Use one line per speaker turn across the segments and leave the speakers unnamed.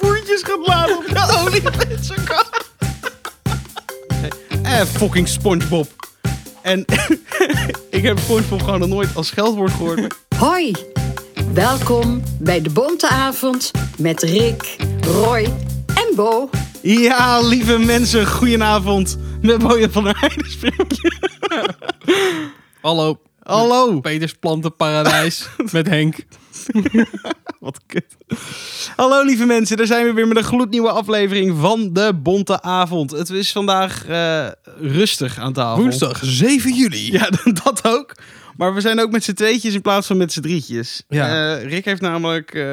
liedjes gaat blazen op de olieblitserkast. Eh, fucking Spongebob. En ik heb Spongebob gewoon nog nooit als scheldwoord gehoord. maar-
Hoi, welkom bij de Bonte Avond met Rick, Roy en Bo.
Ja, lieve mensen, goedenavond. Met Mooie van der Heijden speelt.
Hallo,
Hallo.
Peters Plantenparadijs met Henk.
Wat kut. Hallo lieve mensen, daar zijn we weer met een gloednieuwe aflevering van de Bonte Avond. Het is vandaag eh, rustig aan tafel.
7 juli.
Ja, dat ook. Maar we zijn ook met z'n tweetjes in plaats van met z'n drietjes.
Ja.
Eh, Rick heeft namelijk eh,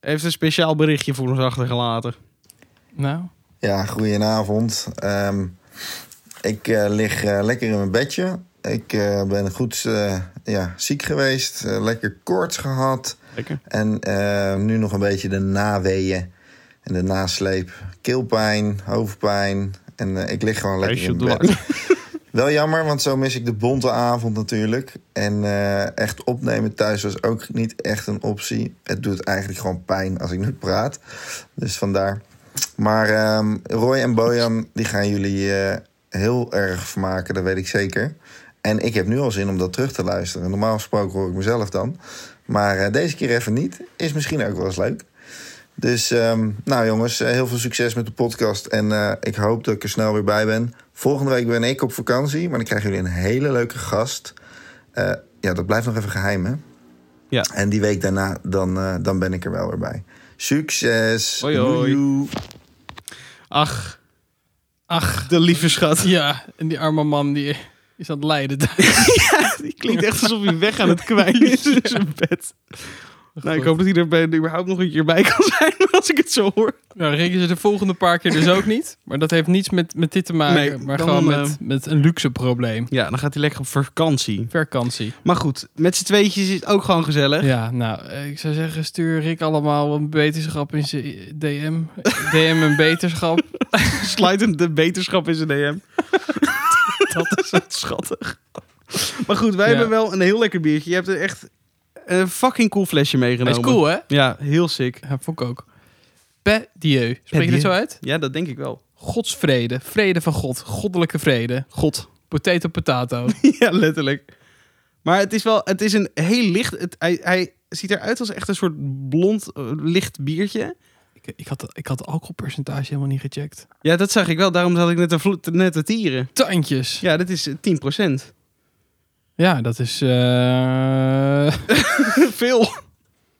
heeft een speciaal berichtje voor ons achtergelaten.
Nou,
Ja, goedenavond. Ehm, ik eh, lig eh, lekker in mijn bedje. Ik eh, ben goed eh, ja, ziek geweest, eh, lekker koorts gehad.
Lekker.
En eh, nu nog een beetje de naweeën en de nasleep. Keelpijn, hoofdpijn. En eh, ik lig gewoon lekker in mijn
Huisje
bed. Wel jammer, want zo mis ik de bonte avond natuurlijk. En eh, echt opnemen thuis was ook niet echt een optie. Het doet eigenlijk gewoon pijn als ik nu praat. Dus vandaar. Maar ehm, Roy en Bojan, die gaan jullie eh, heel erg vermaken, dat weet ik zeker. En ik heb nu al zin om dat terug te luisteren. Normaal gesproken hoor ik mezelf dan. Maar eh, deze keer even niet. Is misschien ook wel eens leuk. Dus, ehm, nou jongens, eh, heel veel succes met de podcast. En eh, ik hoop dat ik er snel weer bij ben. Volgende week ben ik op vakantie, maar dan krijgen jullie een hele leuke gast. Eh, ja, dat blijft nog even geheim, hè?
Ja.
En die week daarna, dan, eh, dan ben ik er wel weer bij. Succes!
Hoi, hoi.
Joejoe.
Ach,
ach.
de lieve schat.
Ja, en die arme man die is aan het lijden.
Die klinkt echt alsof hij weg aan het kwijlen is in zijn bed. Nou, ik hoop dat hij er bij- überhaupt nog een keer bij kan zijn als ik het zo hoor.
Nou, rekenen ze de volgende paar keer dus ook niet. Maar dat heeft niets met, met dit te maken,
Nee,
maar
dan,
gewoon
eh,
met, met een luxe probleem.
Ja, dan gaat hij lekker op vakantie.
Vakantie.
Maar goed, met z'n tweetjes is het ook gewoon gezellig.
Ja, nou, eh, ik zou zeggen, stuur Rick allemaal een beterschap in zijn DM. DM een beterschap.
Sluitend de beterschap in zijn DM. dat is het schattig. Maar goed, wij
Ja.
hebben wel een heel lekker biertje. Je hebt er echt een fucking cool flesje
Dat
meegenomen.
is cool, hè?
Ja, heel sick.
Ja, vond ik ook. Pe Dieu. Spreek je dit zo
Dieu.
uit?
Ja, dat denk ik wel.
Godsvrede. Vrede van God. Goddelijke vrede.
God.
Potato, potato.
ja, letterlijk. Maar het is wel, het is een heel licht. Het, hij, hij ziet eruit als echt een soort blond eh, licht biertje.
ik, ik, had, ik had het alcoholpercentage helemaal niet gecheckt.
Ja, dat zag ik wel. Daarom zat ik net te, vlo- te- net te tieren.
Tandjes. Ja,
Ja, dit is eh, 10%.
dat is... eh,
Veel.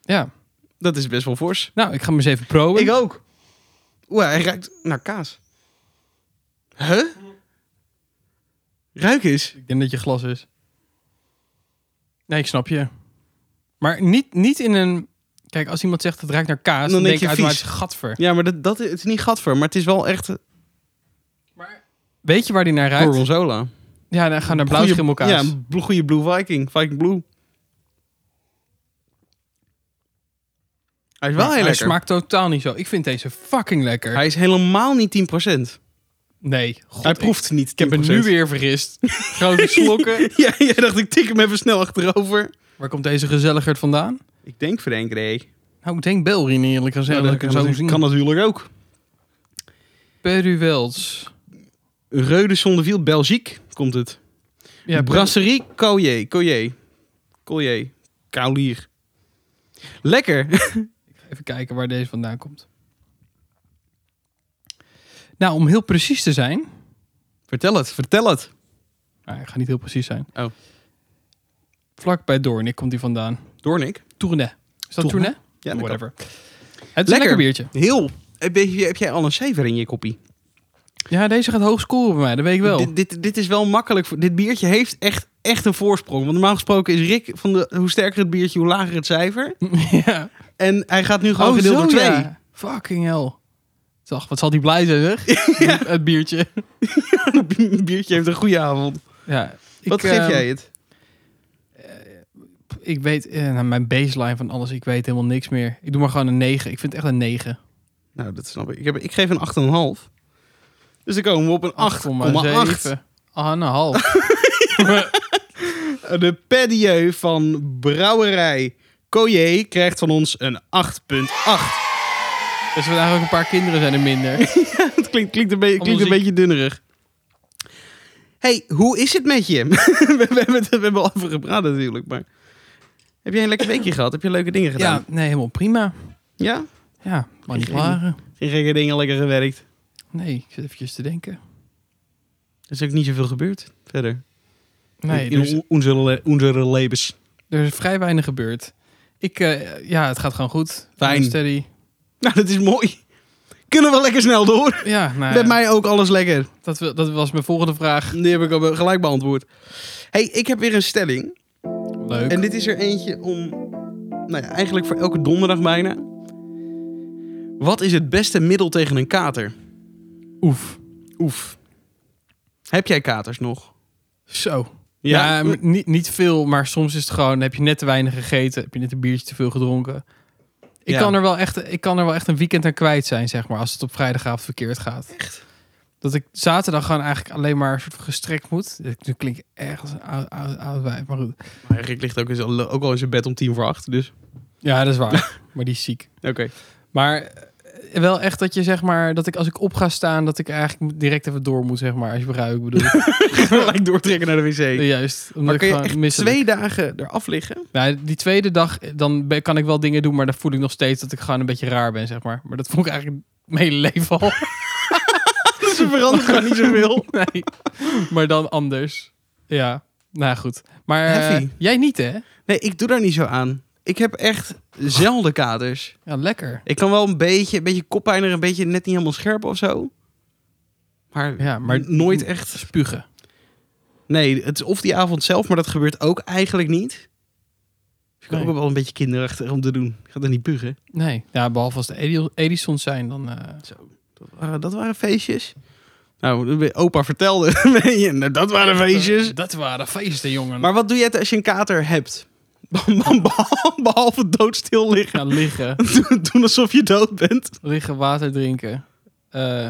ja.
Dat is best wel fors.
Nou, ik ga hem eens even proben.
Ik ook. Oeh, hij ruikt naar kaas. Huh? Ruik eens.
Ik denk dat je glas is. Nee, ik snap je. Maar niet, niet in een... Kijk, als iemand zegt het ruikt naar kaas, dan,
Dan
denk
denk
ik
je vies.
automatisch gatver.
Ja, maar dat, dat is, het is niet gatver, maar het is wel echt eh,
Weet je waar die naar ruikt?
Gorgonzola.
Ja, dan gaan naar
Goeie-
blauwschimmelkaas.
Ja, een bl- goede Blue Viking. Viking Blue. Hij is wel
Maar
heel
hij
lekker.
smaakt totaal niet zo. Ik vind deze fucking lekker.
Hij is helemaal niet 10%.
Nee, God,
hij
ik-
proeft niet 10%.
Ik heb hem nu weer vergist. Grote slokken.
ja, jij dacht ik tik hem even snel achterover.
Waar komt deze gezelligheid vandaan?
Ik denk Frank Rey.
Nou, ik denk Belrin eerlijk gezegd. dat ik hem zo zien.
kan natuurlijk ook.
Peruwels.
Reude Zonderviel, Belgique komt het.
Ja,
Brasserie Collier. Collier. Collier. Kaulier. Lekker.
Even kijken waar deze vandaan komt. Nou, om heel precies te zijn.
vertel het, vertel het.
Nou, ik ga niet heel precies zijn.
Oh.
Vlak bij Doornik komt die vandaan.
Doornik.
Tournai. Is dat
Tournai?
Tournai?
Ja, dat
Whatever. Het is een lekker biertje.
Heel. Heb je, heb jij al een cijfer in je koppie?
Ja, deze gaat hoog scoren bij mij. Dat weet ik wel.
Dit, dit, dit is wel makkelijk. voor- Dit biertje heeft echt, echt een voorsprong. Want normaal gesproken is Rick van de... Hoe sterker het biertje, hoe lager het cijfer.
ja.
En hij gaat nu gewoon gedeeld
Oh, zo,
door twee.
ja. Fucking hell. Zag, wat zal die blij zijn, zeg? Het biertje.
Het biertje heeft een goede avond.
Ja. ik,
Wat geef
ehm,
jij het?
Ik weet, eh, nou, mijn baseline van alles, ik weet helemaal niks meer. Ik doe maar gewoon een 9. Ik vind het echt een 9.
Nou, dat snap ik. Ik, heb, ik geef een 8,5. Dus dan komen we op een 8,8.
8,7. Ah, een half.
De pedieu van brouwerij Coyer krijgt van ons een 8,8.
Dus we eigenlijk een paar kinderen zijn er minder.
Het klinkt, klinkt, een, be- klinkt een
Onderzoek.
beetje dunnerig. hey, hoe is het met je? we, we hebben het we hebben al over gepraat natuurlijk, maar... Heb jij een lekker weekje gehad? Heb je leuke dingen
Ja,
gedaan?
nee, helemaal prima.
Ja?
Ja, maar niet
Geen-
klagen.
Geen gekke dingen, lekker gewerkt.
Nee, ik zit eventjes te denken.
Er is ook niet zoveel gebeurd verder.
Nee, dus-
in
er is,
on- onze, le- onze levens.
er is vrij weinig gebeurd. Ik, eh, ja, het gaat gewoon goed.
Fijn.
Steady.
Nou, dat is mooi. Kunnen we lekker snel door?
Ja, nou,
Met mij ook alles lekker.
dat, wil- dat was mijn volgende vraag.
Die heb ik al be- gelijk beantwoord. hey, ik heb weer een stelling.
Leuk.
En dit is er eentje om... Nou ja, eigenlijk voor elke donderdag bijna. Wat is het beste middel tegen een kater?
Oef.
Oef. Heb jij katers nog?
Zo. Ja, m- niet, niet veel, maar soms is het gewoon... heb je net te weinig gegeten, heb je net een biertje te veel gedronken. Ik,
Ja.
kan er wel echt, ik kan er wel echt een weekend aan kwijt zijn, zeg maar... als het op vrijdagavond verkeerd gaat. Echt? Dat ik zaterdag gewoon eigenlijk alleen maar een soort van gestrekt moet. Nu klink ik echt als een oud, oud, oud wijf, maar goed.
Maar Rick ligt ook, eens al- ook al in zijn bed om tien voor acht, dus...
Ja, dat is waar. maar die is ziek.
Oké.
Maar eh, wel echt dat je zeg maar... dat ik als ik op ga staan, dat ik eigenlijk direct even door moet, zeg maar. Als je begrijpt wat ik bedoel.
Gelijk doortrekken naar de wc.
Juist. Omdat
Maar
ik
kun je
gewoon
echt
misselijk-
twee dagen eraf liggen?
Nou, die tweede dag, dan ben- kan ik wel dingen doen, maar dan voel ik nog steeds dat ik gewoon een beetje raar ben, zeg maar. Maar dat vond ik eigenlijk mijn hele leven al.
Ze verandert gewoon niet zoveel.
Nee. Maar dan anders. Ja, nou ja, goed. Maar eh,
Heavy.
jij niet, hè?
Nee, ik doe daar niet zo aan. Ik heb echt zelden katers.
Ja, lekker.
Ik kan wel een beetje, een beetje koppijn er een beetje net niet helemaal scherp of zo. Maar,
Ja, maar
n- nooit echt.
Spugen.
Nee, het is of die avond zelf, maar dat gebeurt ook eigenlijk niet. Dus ik ben
Nee.
ook wel een beetje kinderachtig om te doen. Ik ga er niet pugen.
Nee. Ja, behalve als de Edi- Edisons zijn, dan... eh,
Dat waren, dat waren feestjes. Nou, opa vertelde. weet je, nou, dat waren feestjes.
Dat waren feesten, jongen.
Maar wat doe jij als je een kater hebt? Behalve doodstil liggen.
Ja, liggen.
Doen- Doen alsof je dood bent.
Liggen, water drinken. Eh,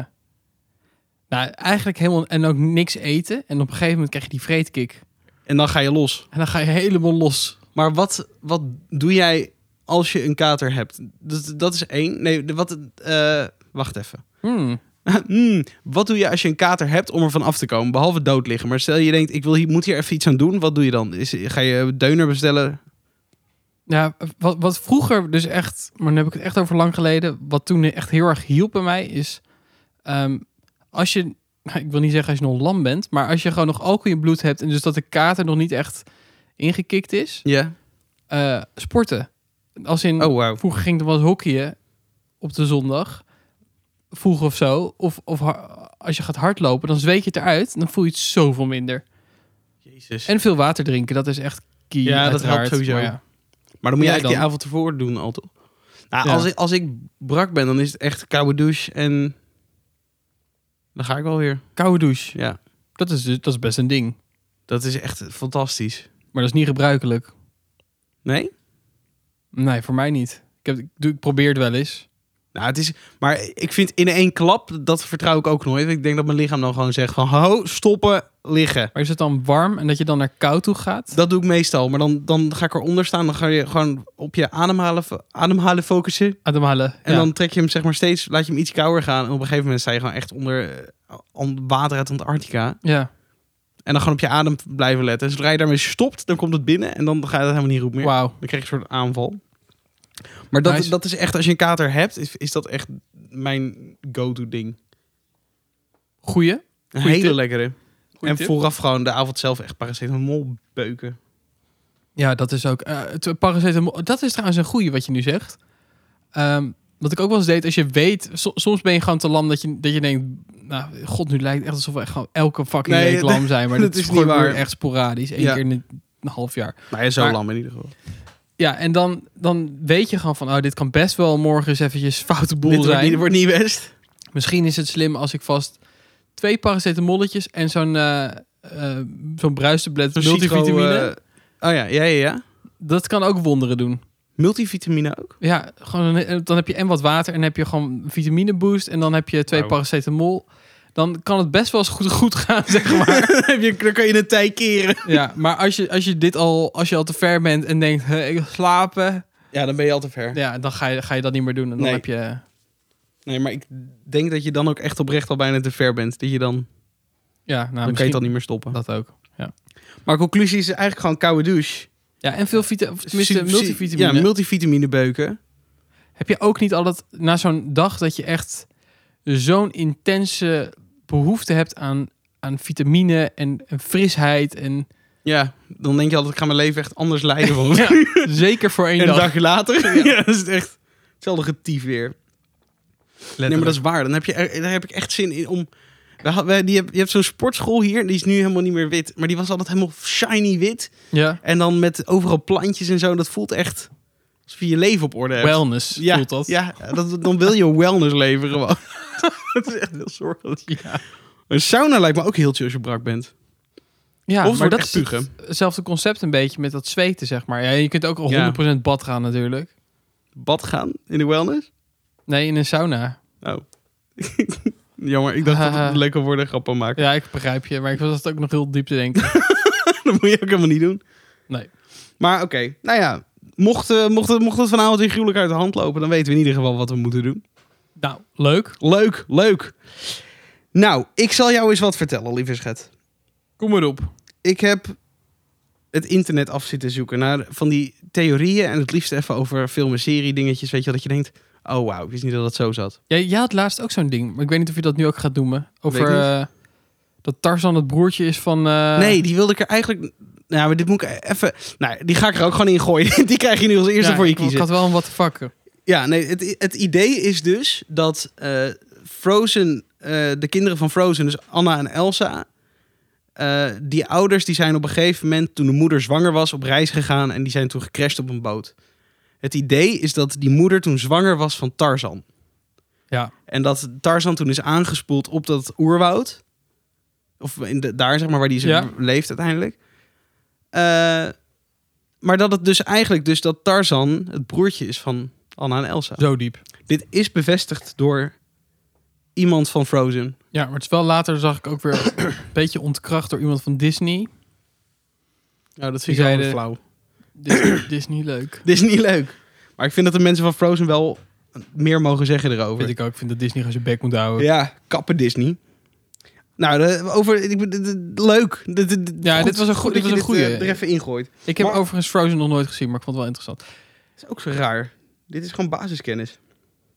nou, eigenlijk helemaal... En ook niks eten. En op een gegeven moment krijg je die vreetkick.
En dan ga je los.
En dan ga je helemaal los.
Maar wat, wat doe jij als je een kater hebt? Dat, dat is één. Nee, de- wat. eh, wacht even.
Hmm.
Hmm, wat doe je als je een kater hebt om ervan af te komen? Behalve dood liggen. Maar stel je denkt, ik wil hier, moet hier even iets aan doen. Wat doe je dan? Is, ga je deuner bestellen?
Ja, wat, wat vroeger dus echt, maar dan heb ik het echt over lang geleden. Wat toen echt heel erg hielp bij mij is, ehm, als je, nou, ik wil niet zeggen als je nog lam bent, maar als je gewoon nog alcohol in je bloed hebt en dus dat de kater nog niet echt ingekikt is,
Ja.
eh, sporten. Als in,
Oh, wauw.
vroeger ging er wel eens hockeyen op de zondag, vroeg of zo. Of, of ha- als je gaat hardlopen, dan zweet je het eruit, dan voel je het zoveel minder.
Jezus.
En veel water drinken, dat is echt key.
Ja, dat helpt
uiteraard,
sowieso.
maar ja.
maar dan moet je
Ja,
eigenlijk
dan.
die avond ervoor doen al toch? Nou,
Ja.
als, ik, als ik brak ben, dan is het echt koude douche en... Dan ga ik wel weer.
Koude douche.
Ja.
Dat is, dus- dat is best een ding.
Dat is echt fantastisch.
Maar dat is niet gebruikelijk.
Nee?
Nee, voor mij niet. Ik, heb, ik, doe- ik probeer het wel eens.
Nou, het is, maar ik vind in één klap, dat vertrouw ik ook nooit. Ik denk dat mijn lichaam dan gewoon zegt van, ho, stoppen, liggen.
Maar is het dan warm en dat je dan naar koud toe gaat?
Dat doe ik meestal, maar dan, dan ga ik eronder staan. Dan ga je gewoon op je ademhalen, fo- ademhalen focussen.
Ademhalen.
En
ja.
dan trek je hem zeg maar steeds, laat je hem iets kouder gaan. En op een gegeven moment sta je gewoon echt onder eh, an- water uit Antarctica.
Ja,
En dan gewoon op je adem blijven letten. En zodra je daarmee stopt, dan komt het binnen. En dan gaat het helemaal niet goed meer.
wauw.
Dan krijg je een soort aanval. Maar dat,
Nice.
dat is echt, als je een kater hebt, is, is dat echt mijn go-to ding.
Goeie.
Een
Goeie
hele
tip.
lekkere.
Goeie
en
tip.
vooraf gewoon de avond zelf echt paracetamol beuken.
Ja, dat is ook... eh, het paracetamol, dat is trouwens een goeie wat je nu zegt. Ehm, wat ik ook wel eens deed, als je weet... so- soms ben je gewoon te lam dat je, dat je denkt... Nou, god, nu lijkt het echt alsof we echt gewoon elke fucking
Nee,
week lam zijn. Maar
dat
dat,
is
is
niet
gewoon
waar.
weer echt sporadisch. Eén
Ja.
keer in een, een half jaar.
Nou ja, zo
Maar-
lam in ieder geval.
Ja, en dan, dan weet je gewoon van... Oh, dit kan best wel morgen eens eventjes foute boel
Dit wordt
zijn.
niet, wordt niet best.
Misschien is het slim als ik vast twee paracetamolletjes en zo'n eh eh, zo'n bruistablet
Zo'n
multivitamine.
citro, eh, oh ja, ja, ja, ja.
Dat kan ook wonderen doen.
Multivitamine ook.
Ja, gewoon een- eh, dan heb je en wat water en heb je gewoon een vitamine boost en dan heb je twee
Wauw.
paracetamol. Dan kan het best wel eens goed, goed gaan, zeg maar.
dan, heb je, dan kan je een tij keren.
ja, maar als je, als je dit al, als je al te ver bent en denkt, "Hè, ik wil slapen,
Ja, dan ben je al te ver.
ja, dan ga je, ga je dat niet meer doen. En dan
Nee.
heb je
Nee, maar ik denk dat je dan ook echt oprecht al bijna te ver bent. Dat je dan,
Ja,
dan
nou,
kan je
misschien
het dan niet meer stoppen.
dat ook. Ja.
Maar conclusie is eigenlijk gewoon koude douche.
ja, en veel vita of tenminste
Su- su-
multivitamine.
Ja, multivitamine beuken.
Heb je ook niet al dat na zo'n dag dat je echt zo'n intense behoefte hebt aan, aan vitamine en, en frisheid? En
Ja, dan denk je altijd, ik ga mijn leven echt anders leiden van
Ja, zeker voor één
En een
dag.
dag later, ja. dat is het echt hetzelfde getief weer. Nee, maar dat is waar. Dan heb je, er- daar heb ik echt zin in om... We had- we- die heb, je hebt zo'n sportschool hier, die is nu helemaal niet meer wit. Maar die was altijd helemaal shiny wit.
Ja,
En dan met overal plantjes en zo. Dat voelt echt alsof je je leven op orde hebt.
wellness
ja,
voelt dat.
Ja, dat, dan wil je een wellness leven gewoon. dat is echt heel zorgelijk.
Ja.
Een sauna lijkt me ook heel chill als je brak bent.
Ja,
Of het
maar
wordt
dat
echt
is het-
pugen.
hetzelfde concept een beetje met dat zweten, zeg maar. Ja, je kunt ook al
Ja.
100% bad gaan natuurlijk.
Bad gaan in de wellness?
Nee, in een sauna.
Oh. Jammer, ik dacht dat het leuke woorden grappen maken.
Ja, ik begrijp je, maar ik was het ook nog heel diep te denken.
dat moet je ook helemaal niet doen.
Nee.
Maar oké, nou ja. Mocht, eh, mocht, het, mocht het vanavond weer gruwelijk uit de hand lopen, dan weten we in ieder geval wat we moeten doen.
Nou, leuk.
Leuk, leuk. Nou, ik zal jou eens wat vertellen, lieve schat.
Kom maar op.
Ik heb het internet af zitten zoeken naar van die theorieën en het liefst even over film en serie dingetjes. Weet je wel, dat je denkt, oh wauw, ik wist niet dat dat zo zat.
Jij, jij had laatst ook zo'n ding, maar ik weet niet of je dat nu ook gaat noemen. Over
Weet niet.
eh, dat Tarzan het broertje is van... eh,
nee, die wilde ik er eigenlijk... Nou, maar dit moet ik even... Nou, die ga ik er ook gewoon in gooien. Die krijg je nu als eerste
ja,
voor je
ik-
kiezen.
Ik had wel een what the fuck.
Ja, nee, het, het idee is dus dat eh, Frozen, eh, de kinderen van Frozen, dus Anna en Elsa, eh, die ouders die zijn op een gegeven moment, toen de moeder zwanger was, op reis gegaan en die zijn toen gecrashed op een boot. Het idee is dat die moeder toen zwanger was van Tarzan.
Ja.
En dat Tarzan toen is aangespoeld op dat oerwoud. Of in de, daar, zeg maar, waar die ze
Ja.
leeft uiteindelijk. Eh, maar dat het dus eigenlijk dus dat Tarzan het broertje is van Anna en Elsa.
Zo diep.
Dit is bevestigd door iemand van Frozen.
Ja, maar het is wel later zag ik ook weer een beetje ontkracht door iemand van Disney.
Nou, dat
Die zeiden-
flauw.
Disney, Disney leuk.
Dit is niet leuk. Maar ik vind dat de mensen van Frozen wel meer mogen zeggen erover.
Weet ik ook. Ik vind dat Disney gewoon zijn bek moet houden.
Ja, kappen Disney. Nou, de- over, ik, ben- de- de- leuk. De- de- de-
Ja, dit was een goe-
dat
dit was
je
een
eh,
goeie.
er even ingooit.
Ik heb
Maar-
overigens Frozen nog nooit gezien, maar ik vond het wel interessant.
Dat is ook zo raar. Dit is gewoon basiskennis.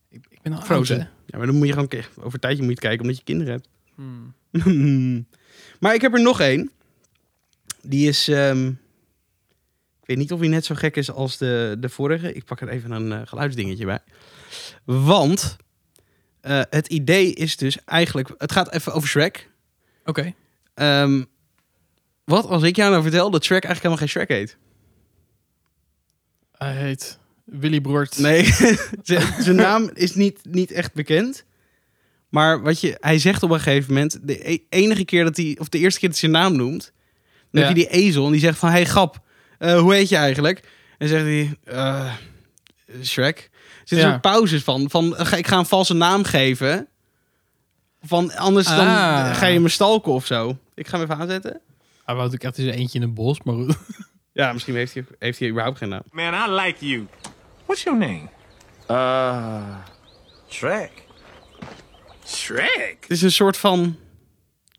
Ik, ik ben al oud,
Frozen.
hè?
Ja, maar dan moet je gewoon ke- over een tijdje moet je het kijken omdat je kinderen hebt.
Hmm.
maar ik heb er nog één. Die is. ehm, ik weet niet of hij net zo gek is als de, de vorige. Ik pak er even een eh, geluidsdingetje bij. Want eh, het idee is dus eigenlijk. Het gaat even over Shrek.
Oké.
Ehm, wat als ik jou nou vertel dat Shrek eigenlijk helemaal geen Shrek heet?
Hij heet Willy Broert.
Nee, z- zijn naam is niet, niet echt bekend. Maar wat je, hij zegt op een gegeven moment, de e- enige keer dat hij, of de eerste keer dat hij zijn naam noemt, dan
Ja.
heb je die ezel en die zegt van, hey grap, eh, hoe heet je eigenlijk? En zegt hij, eh Shrek. Er zitten
Ja.
soort pauzes van, van, eh, ga- ik ga een valse naam geven. Van, anders dan
Ah.
ga je me stalken of zo. Ik ga hem even aanzetten.
Hij wou natuurlijk echt eens eentje in een bos, maar goed.
Ja, misschien heeft hij, heeft hij überhaupt geen naam.
Man, I like you.
What's your name?
Shrek. Shrek?
Het is een soort van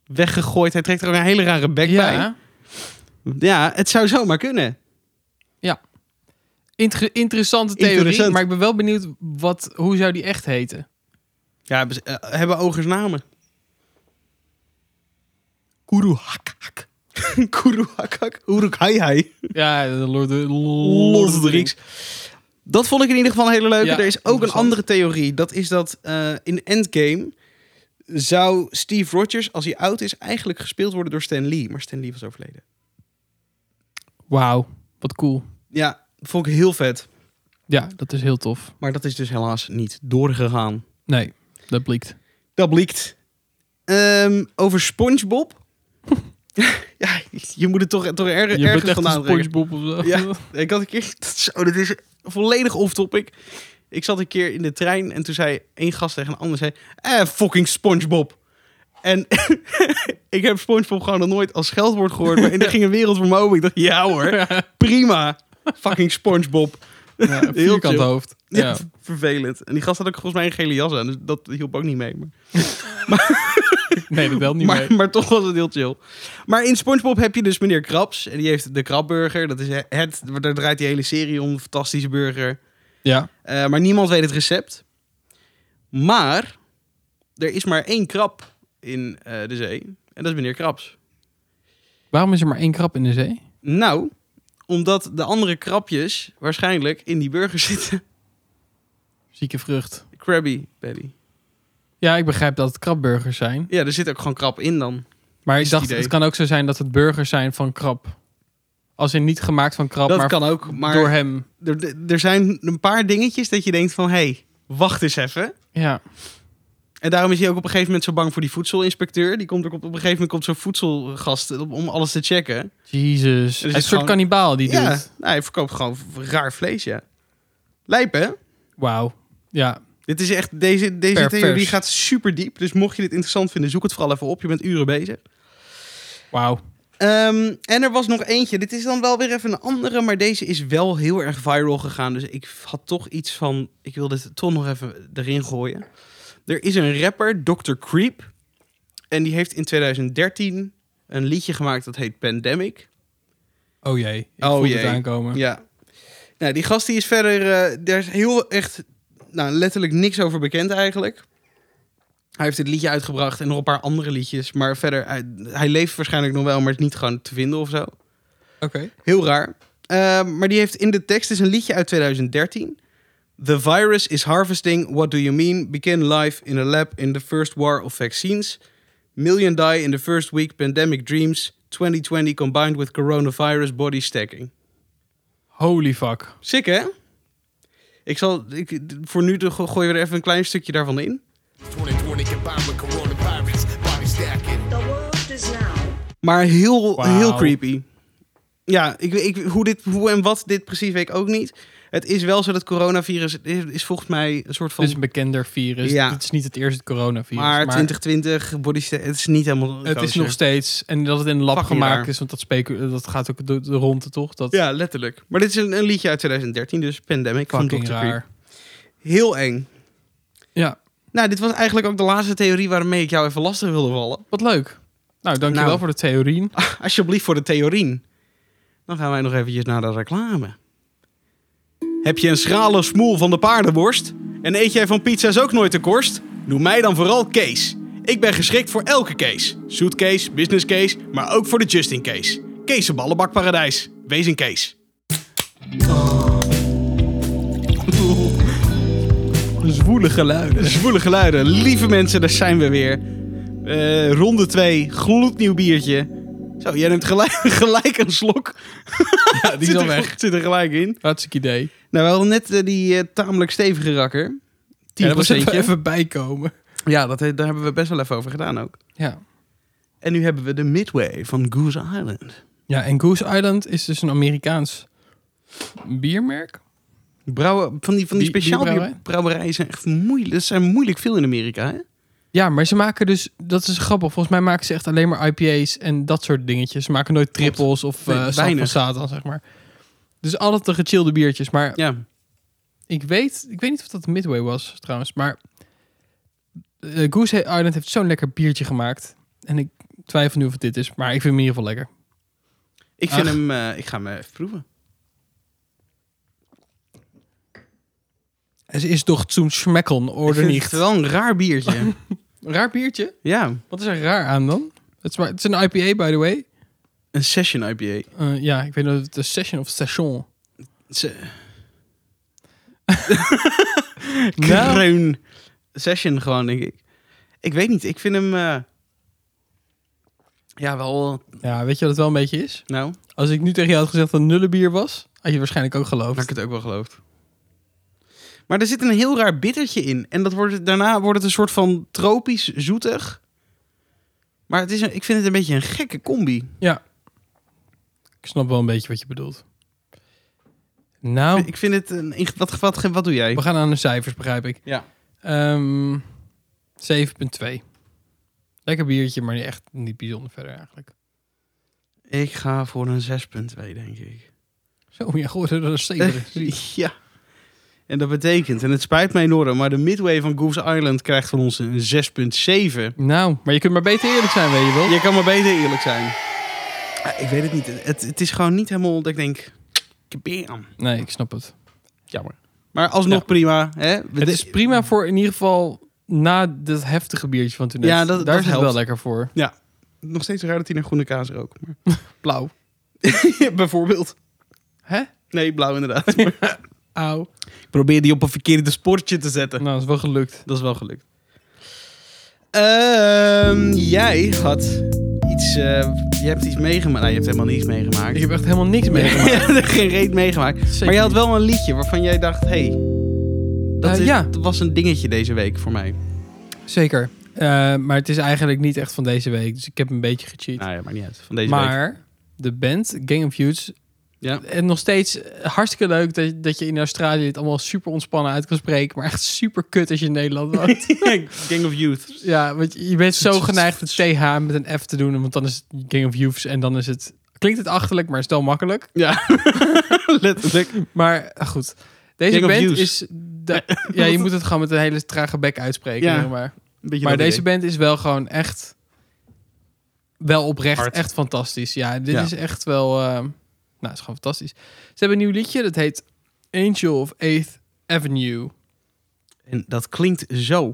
weggegooid. Hij trekt er ook een hele rare bek bij.
Ja.
Ja, het zou zomaar kunnen.
Inter- interessante theorie,
Interessant.
maar ik ben wel benieuwd wat, hoe zou die echt heten?
Ja, hebben ze- eh, hebben ogers namen? Kuruhakak. Kuruhakak. Uruk-hai-hai.
Ja, de Lord, de Lord
Lord of the Rings. Dat vond ik in ieder geval een hele leuke.
Ja,
er is ook een
interessant.
andere theorie. Dat is dat eh, in Endgame zou Steve Rogers, als hij oud is, eigenlijk gespeeld worden door Stan Lee. Maar Stan Lee was overleden.
Wauw, wat cool.
Ja, vond ik heel vet.
Ja, dat is heel tof.
Maar dat is dus helaas niet doorgegaan.
Nee, dat blikt.
Dat blikt. Ehm, over SpongeBob. ja, je moet het toch, toch er,
Je bent
ergens
echt een
vandaan trekken.
Spongebob of zo.
Ja, ik had een keer. Dat is, oh, dat is volledig off-topic. Ik zat een keer in de trein en toen zei één gast tegen een ander: zei, Eh, fucking SpongeBob. En ik heb SpongeBob gewoon nog nooit als scheldwoord gehoord. Maar en er ging een wereld voor me open. Ik dacht: Ja hoor, prima. Fucking SpongeBob.
Ja, een vierkant
chill.
hoofd.
Ja,
Ja.
v- vervelend. En die gast had ook volgens mij een gele jas aan, dus dat hielp ook niet mee. Maar,
Nee, dat helpt niet
maar,
mee.
maar toch was het heel chill. Maar in SpongeBob heb je dus meneer Krabs. En die heeft de Krabburger. Dat is het, daar draait die hele serie om. een Fantastische burger.
Ja.
Eh, maar niemand weet het recept. Maar er is maar één krab in eh, de zee. En dat is meneer Krabs.
Waarom is er maar één krab in de zee?
Nou, omdat de andere krabjes waarschijnlijk in die burger zitten.
Zieke vrucht.
Krabby Patty.
Ja, ik begrijp dat het krabburgers zijn.
Ja, er zit ook gewoon krab in dan.
Maar ik
Is het
dacht,
idee.
het kan ook zo zijn dat het burgers zijn van krab. Als in niet gemaakt van krab,
dat
maar
kan ook. Maar
door hem.
er, er zijn een paar dingetjes dat je denkt van... hé, hey, wacht eens even.
Ja.
En daarom is hij ook op een gegeven moment zo bang voor die voedselinspecteur. Die komt ook op, op een gegeven moment komt zo'n voedselgast om, om alles te checken.
Jezus. Hij Dus
is
is een soort
gewoon-
kannibaal, die
ja,
doet.
nou, hij verkoopt gewoon v- raar vlees, ja. Lijp, hè?
Wauw. Ja.
Dit is echt, deze, deze
Pervers.
theorie gaat super diep. Dus mocht je dit interessant vinden, zoek het vooral even op. Je bent uren bezig.
Wauw.
Ehm, en er was nog eentje. Dit is dan wel weer even een andere, maar deze is wel heel erg viral gegaan. Dus ik had toch iets van, ik wil dit toch nog even erin gooien. Er is een rapper, Dr. Creep. En die heeft in 2013 een liedje gemaakt dat heet Pandemic.
Oh jee. Ik
Oh
voel het
jee.
aankomen.
Ja. Nou, die gast die is verder, eh, daar is heel echt, nou letterlijk niks over bekend eigenlijk. Hij heeft dit liedje uitgebracht en nog een paar andere liedjes. Maar verder, hij, hij leeft waarschijnlijk nog wel, maar is niet gewoon te vinden of zo.
Oké.
Heel raar. Eh, maar die heeft in de tekst is een liedje uit 2013. The virus is harvesting. What do you mean? Begin life in a lab in the first war of vaccines. Million die in the first week. Pandemic dreams. 2020 combined with coronavirus body stacking.
Holy fuck.
Sick, hè? Ik zal, ik, voor nu go- gooien we er even een klein stukje daarvan in.
2020 combined with coronavirus, body stacking.
The world is now
Maar heel,
Wauw.
heel creepy. Ja, ik, ik, hoe, dit, hoe en wat dit precies weet ik ook niet. Het is wel zo dat coronavirus is, is volgens mij een soort van...
Het is een bekender virus.
Ja.
Het is niet het eerste coronavirus.
maar 2020, body sta- het is niet helemaal...
het is
kosher.
nog steeds. En dat het in een lab
Fucking
gemaakt
raar.
is, want dat, specu- dat gaat ook de, de ronde toch? Dat
Ja, letterlijk. Maar dit is een, een liedje uit 2013, dus Pandemic van Dr.
fucking
Creep.
raar.
Heel eng.
Ja.
Nou, dit was eigenlijk ook de laatste theorie waarmee ik jou even lastig wilde vallen.
Wat leuk. Nou, dankjewel
Nou.
voor de theorieën.
Alsjeblieft voor de theorieën. Dan gaan wij nog eventjes naar de reclame. Heb je een schrale smoel van de paardenworst? En eet jij van pizza's ook nooit de korst? Doe mij dan vooral Kees. Ik ben geschikt voor elke case. Suitcase, business case, maar ook voor de just-in case. Kees een ballenbakparadijs. Wees een Kees.
Zwoele geluiden.
Zwoele geluiden. Lieve mensen, daar zijn we weer. Eh, ronde 2, gloednieuw biertje. Zo, jij neemt gelijk, gelijk een slok.
Ja, die is
Zit
al
er-
weg.
Zit er gelijk in.
Hartstikke idee.
Nou, we hadden net eh, die eh, tamelijk stevige rakker. 10%.
Ja,
Ja,
daar moet even, even bijkomen.
ja dat, he- daar hebben we best wel even over gedaan ook.
Ja.
En nu hebben we de Midway van Goose Island.
ja, en Goose Island is dus een Amerikaans biermerk.
Brouwen, van die, van die
Die- die
speciaal
brouwerij?
brouwerijen zijn echt moeilijk. Dat zijn moeilijk veel in Amerika, hè?
Ja, maar ze maken dus, dat is grappig. Volgens mij maken ze echt alleen maar IPA's en dat soort dingetjes. Ze maken nooit trippels of
Nee,
eh Sap van
weinig.
Satan, zeg maar. Dus altijd de gechillde biertjes. Maar
Ja.
ik weet, ik weet niet of dat Midway was trouwens, maar eh, Goose Island heeft zo'n lekker biertje gemaakt. En ik twijfel nu of het dit is, maar ik vind hem in ieder geval lekker.
Ik vind
Ach.
hem... eh, ik ga hem even proeven.
Het is toch zo'n schmeckeln,
Ik
order
vind het
niet.
wel een raar biertje.
Raar biertje?
ja,
Wat is er raar aan dan? Het is, het is een IPA, by the way.
een session IPA.
Eh, ja, ik weet niet of het een session of station.
Se-
Nou.
Kruin. Session gewoon, denk ik. Ik weet niet, ik vind hem... eh, ja, wel...
Ja, weet je wat het wel een beetje is?
Nou,
Als ik nu tegen jou had gezegd dat het nullenbier was, had je waarschijnlijk ook geloofd.
Had ik het ook wel geloofd. Maar er zit een heel raar bittertje in. En dat wordt, het- daarna wordt het een soort van tropisch zoetig. Maar het is een, ik vind het een beetje een gekke combi.
Ja. Ik snap wel een beetje wat je bedoelt. Nou,
Ik vind het een... ing- Wat, wat, wat, doe jij?
we gaan aan de cijfers, begrijp ik.
Ja.
Ehm 7,2. Lekker biertje, maar niet echt niet bijzonder verder eigenlijk.
Ik ga voor een 6.2, denk ik.
Zo, ja, goed, dat is zeker.
ja. En dat betekent, en het spijt mij enorm, maar de midway van Goose Island krijgt van ons een 6,7.
Nou, maar je kunt maar beter eerlijk zijn, weet je wel.
Je kan maar beter eerlijk zijn. Ah, Ik weet het niet. Het, het is gewoon niet helemaal dat ik denk... kabam.
Nee, ik snap het. Jammer.
Maar alsnog
Ja.
prima. Hè? We
Het
de-
is prima voor in ieder geval na dat heftige biertje van toen net.
Ja, dat-
Daar
dat
is het
helpt.
wel lekker voor.
Ja. Nog steeds raar dat hij naar groene kaas rookt. Maar...
Blauw.
Bijvoorbeeld.
Hè?
Nee, blauw inderdaad. Maar
Auw.
ik probeer die op een verkeerde sportje te zetten.
Nou, is wel gelukt.
Dat is wel gelukt. Ehm, jij had iets... eh, je hebt iets meegemaakt. Nou, je hebt helemaal niets meegemaakt.
Ik heb echt helemaal niks mee.
Je hebt er geen reet meegemaakt. Maar je had wel een liedje waarvan jij dacht... Hey, dat
Eh,
is-
ja.
dat was een dingetje deze week voor mij.
Zeker. Eh, maar het is eigenlijk niet echt van deze week. Dus ik heb een beetje gecheat.
Nou ja, maar niet uit. Van deze week.
maar de band Gang of Youths.
Ja.
En nog steeds hartstikke leuk dat, dat je in Australië het allemaal super ontspannen uit kan spreken. Maar echt super kut als je in Nederland woont.
Gang of Youth.
ja, want je je bent zo geneigd het TH met een F te doen. Want dan is het Gang of Youths. En dan is het... Klinkt het achterlijk, maar is het wel makkelijk.
Ja, letterlijk.
Maar eh, goed. Deze
Gang of
band
Youths.
is... de- ja, je moet het gewoon met een hele trage bek uitspreken.
Ja.
zeg maar. Maar deze band is wel gewoon echt... Wel oprecht,
Hard.
echt fantastisch. Ja, dit
Ja.
is echt wel... eh, nou, het is gewoon fantastisch. Ze hebben een nieuw liedje, dat heet Angel of 8th Avenue.
En dat klinkt zo.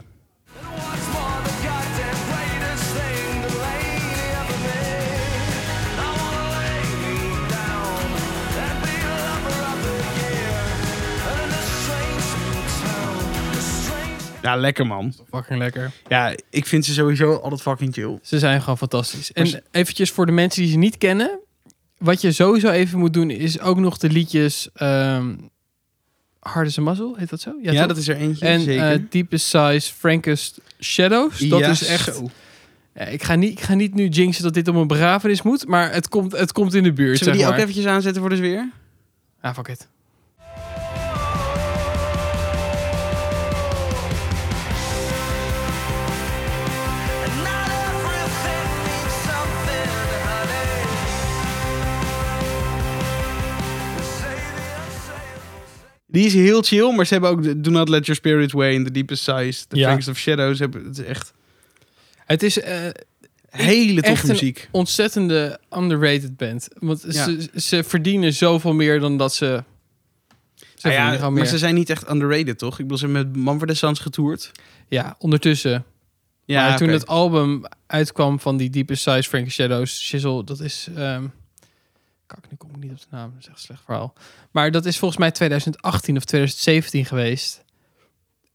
Ja, lekker man.
Fucking lekker.
Ja, ik vind ze sowieso altijd fucking chill.
Ze zijn gewoon fantastisch.
Maar
En eventjes voor de mensen die ze niet kennen. Wat je sowieso even moet doen, is ook nog de liedjes... ehm Hard as a Muzzle, heet dat zo?
Ja,
toch?
dat is er eentje,
En
zeker.
eh, Deepest Size, Frankest Shadows. Dat
Ja,
is echt...
zo.
Ja, ik, ga niet, ik ga niet nu jinxen dat dit om een begrafenis moet, maar het komt, het komt in de
Zullen
buurt. Zeg
we die
maar.
ook eventjes aanzetten voor de sfeer?
Ah, fuck it.
Die is heel chill, maar ze hebben ook de Do Not Let Your Spirit Way in The Deepest Size. The
Ja.
Fangs of Shadows. Hebben, het is echt
Het is eh,
hele
echt
toffe
een
muziek.
ontzettende underrated band. Want
Ja.
ze, ze verdienen zoveel meer dan dat ze... Ze
Ah
verdienen
ja,
gewoon
maar
meer.
ze zijn niet echt underrated, toch? Ik bedoel, ze hebben met Manfred Sons getoerd.
Ja, ondertussen.
Ja,
maar toen
oké.
het album uitkwam van die Deepest Size, Frankie Shadows, Shizzle, dat is... ehm, Kak, nu kom ik niet op de naam. Dat is echt een slecht verhaal. Maar dat is volgens mij 2018 of 2017 geweest.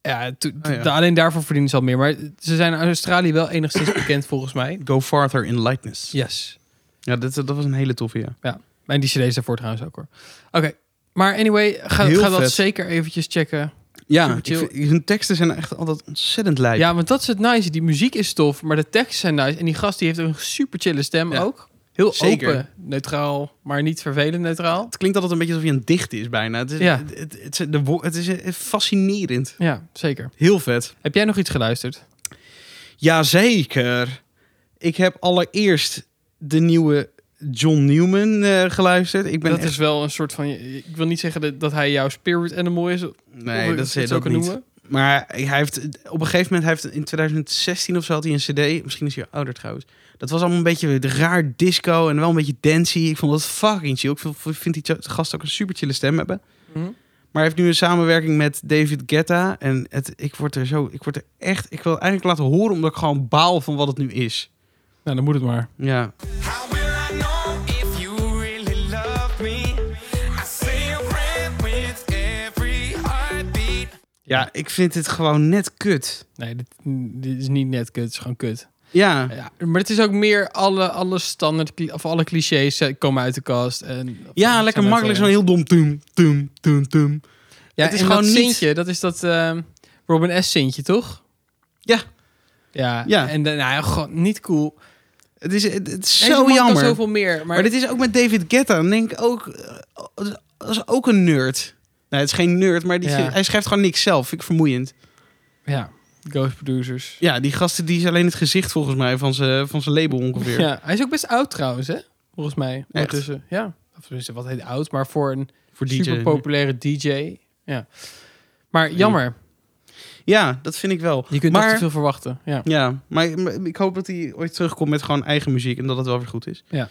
Ja, toen-
Oh ja.
da- alleen daarvoor verdienen ze al meer. Maar ze zijn in Australië wel enigszins bekend volgens mij.
Go Farther in Lightness. Ja,
Yes.
dat, dat was een hele toffe, ja.
En die cd's daarvoor trouwens ook hoor. Oké. Maar anyway, ga,
Heel
ga dat
vet.
zeker eventjes checken.
Ja,
Super chill.
ik vind- hun teksten zijn echt altijd ontzettend lijp.
Ja, want dat is het nice. Die muziek is tof, maar de teksten zijn nice. En die gast die heeft een super chille stem
Ja.
ook. Heel
Zeker.
open, neutraal, maar niet vervelend neutraal.
Het klinkt altijd een beetje alsof je een dicht is bijna. Het is,
Ja.
het, het, het- de wo- het is eh, fascinerend.
Ja, zeker.
Heel vet.
Heb jij nog iets geluisterd?
Jazeker. Ik heb allereerst de nieuwe John Newman eh, geluisterd. Ik ben
dat
echt-
is wel een soort van... Ik wil niet zeggen dat, dat hij jouw spirit animal is.
Nee, dat
zou
is ook niet. Maar hij heeft, op een gegeven moment, hij heeft in 2016 of zo had hij een cd. Misschien is hij ouder trouwens. Dat was allemaal een beetje raar disco en wel een beetje dancey. Ik vond dat fucking chill. Ik vind- vind die gast ook een super chille stem hebben.
Mhm.
Maar hij heeft nu een samenwerking met David Guetta. En het, ik word er zo, ik word er echt, ik wil het eigenlijk laten horen omdat ik gewoon baal van wat het nu is.
Nou, dan moet het maar.
Ja,
How will I know if you really love me? I say a prayer with every heartbeat.
ja ik vind dit gewoon net kut.
Nee, dit, dit is niet net kut. Het is gewoon kut.
Ja,
Ja, maar het is ook meer alle, alle standaard... cli- Of alle clichés eh, komen uit de kast. En,
ja lekker
zijn
makkelijk. Zo'n
uit-
heel dom tum, tum, tum, tum.
Ja,
het is
en
gewoon
dat
niet-
Sintje, dat is dat ehm, Robin S. Sintje, toch?
Ja,
Ja.
Ja.
En dan, nou, ja, gewoon niet cool.
het is, het, het is
Deze man
zo
kan
jammer.
zoveel meer. Maar,
Maar, dit is ook met David Guetta. Dan denk ik ook, eh, dat is ook een nerd. Nee, het is geen nerd, maar die,
Ja.
hij schrijft gewoon niks zelf. Vind ik vermoeiend.
Ja, Ghost Producers.
Ja, die gasten die is alleen het gezicht volgens mij van zijn van zijn label ongeveer.
Ja, hij is ook best oud trouwens, hè? Volgens mij. Ondertussen. Ja. Of tenminste, wat heet oud, maar voor een
Voor DJ.
super populaire DJ. Ja. Maar jammer,
Ja, dat vind ik wel.
je kunt
maar,
nog te veel verwachten. Ja.
Ja, maar maar ik hoop dat hij ooit terugkomt met gewoon eigen muziek en dat het wel weer goed is.
Ja.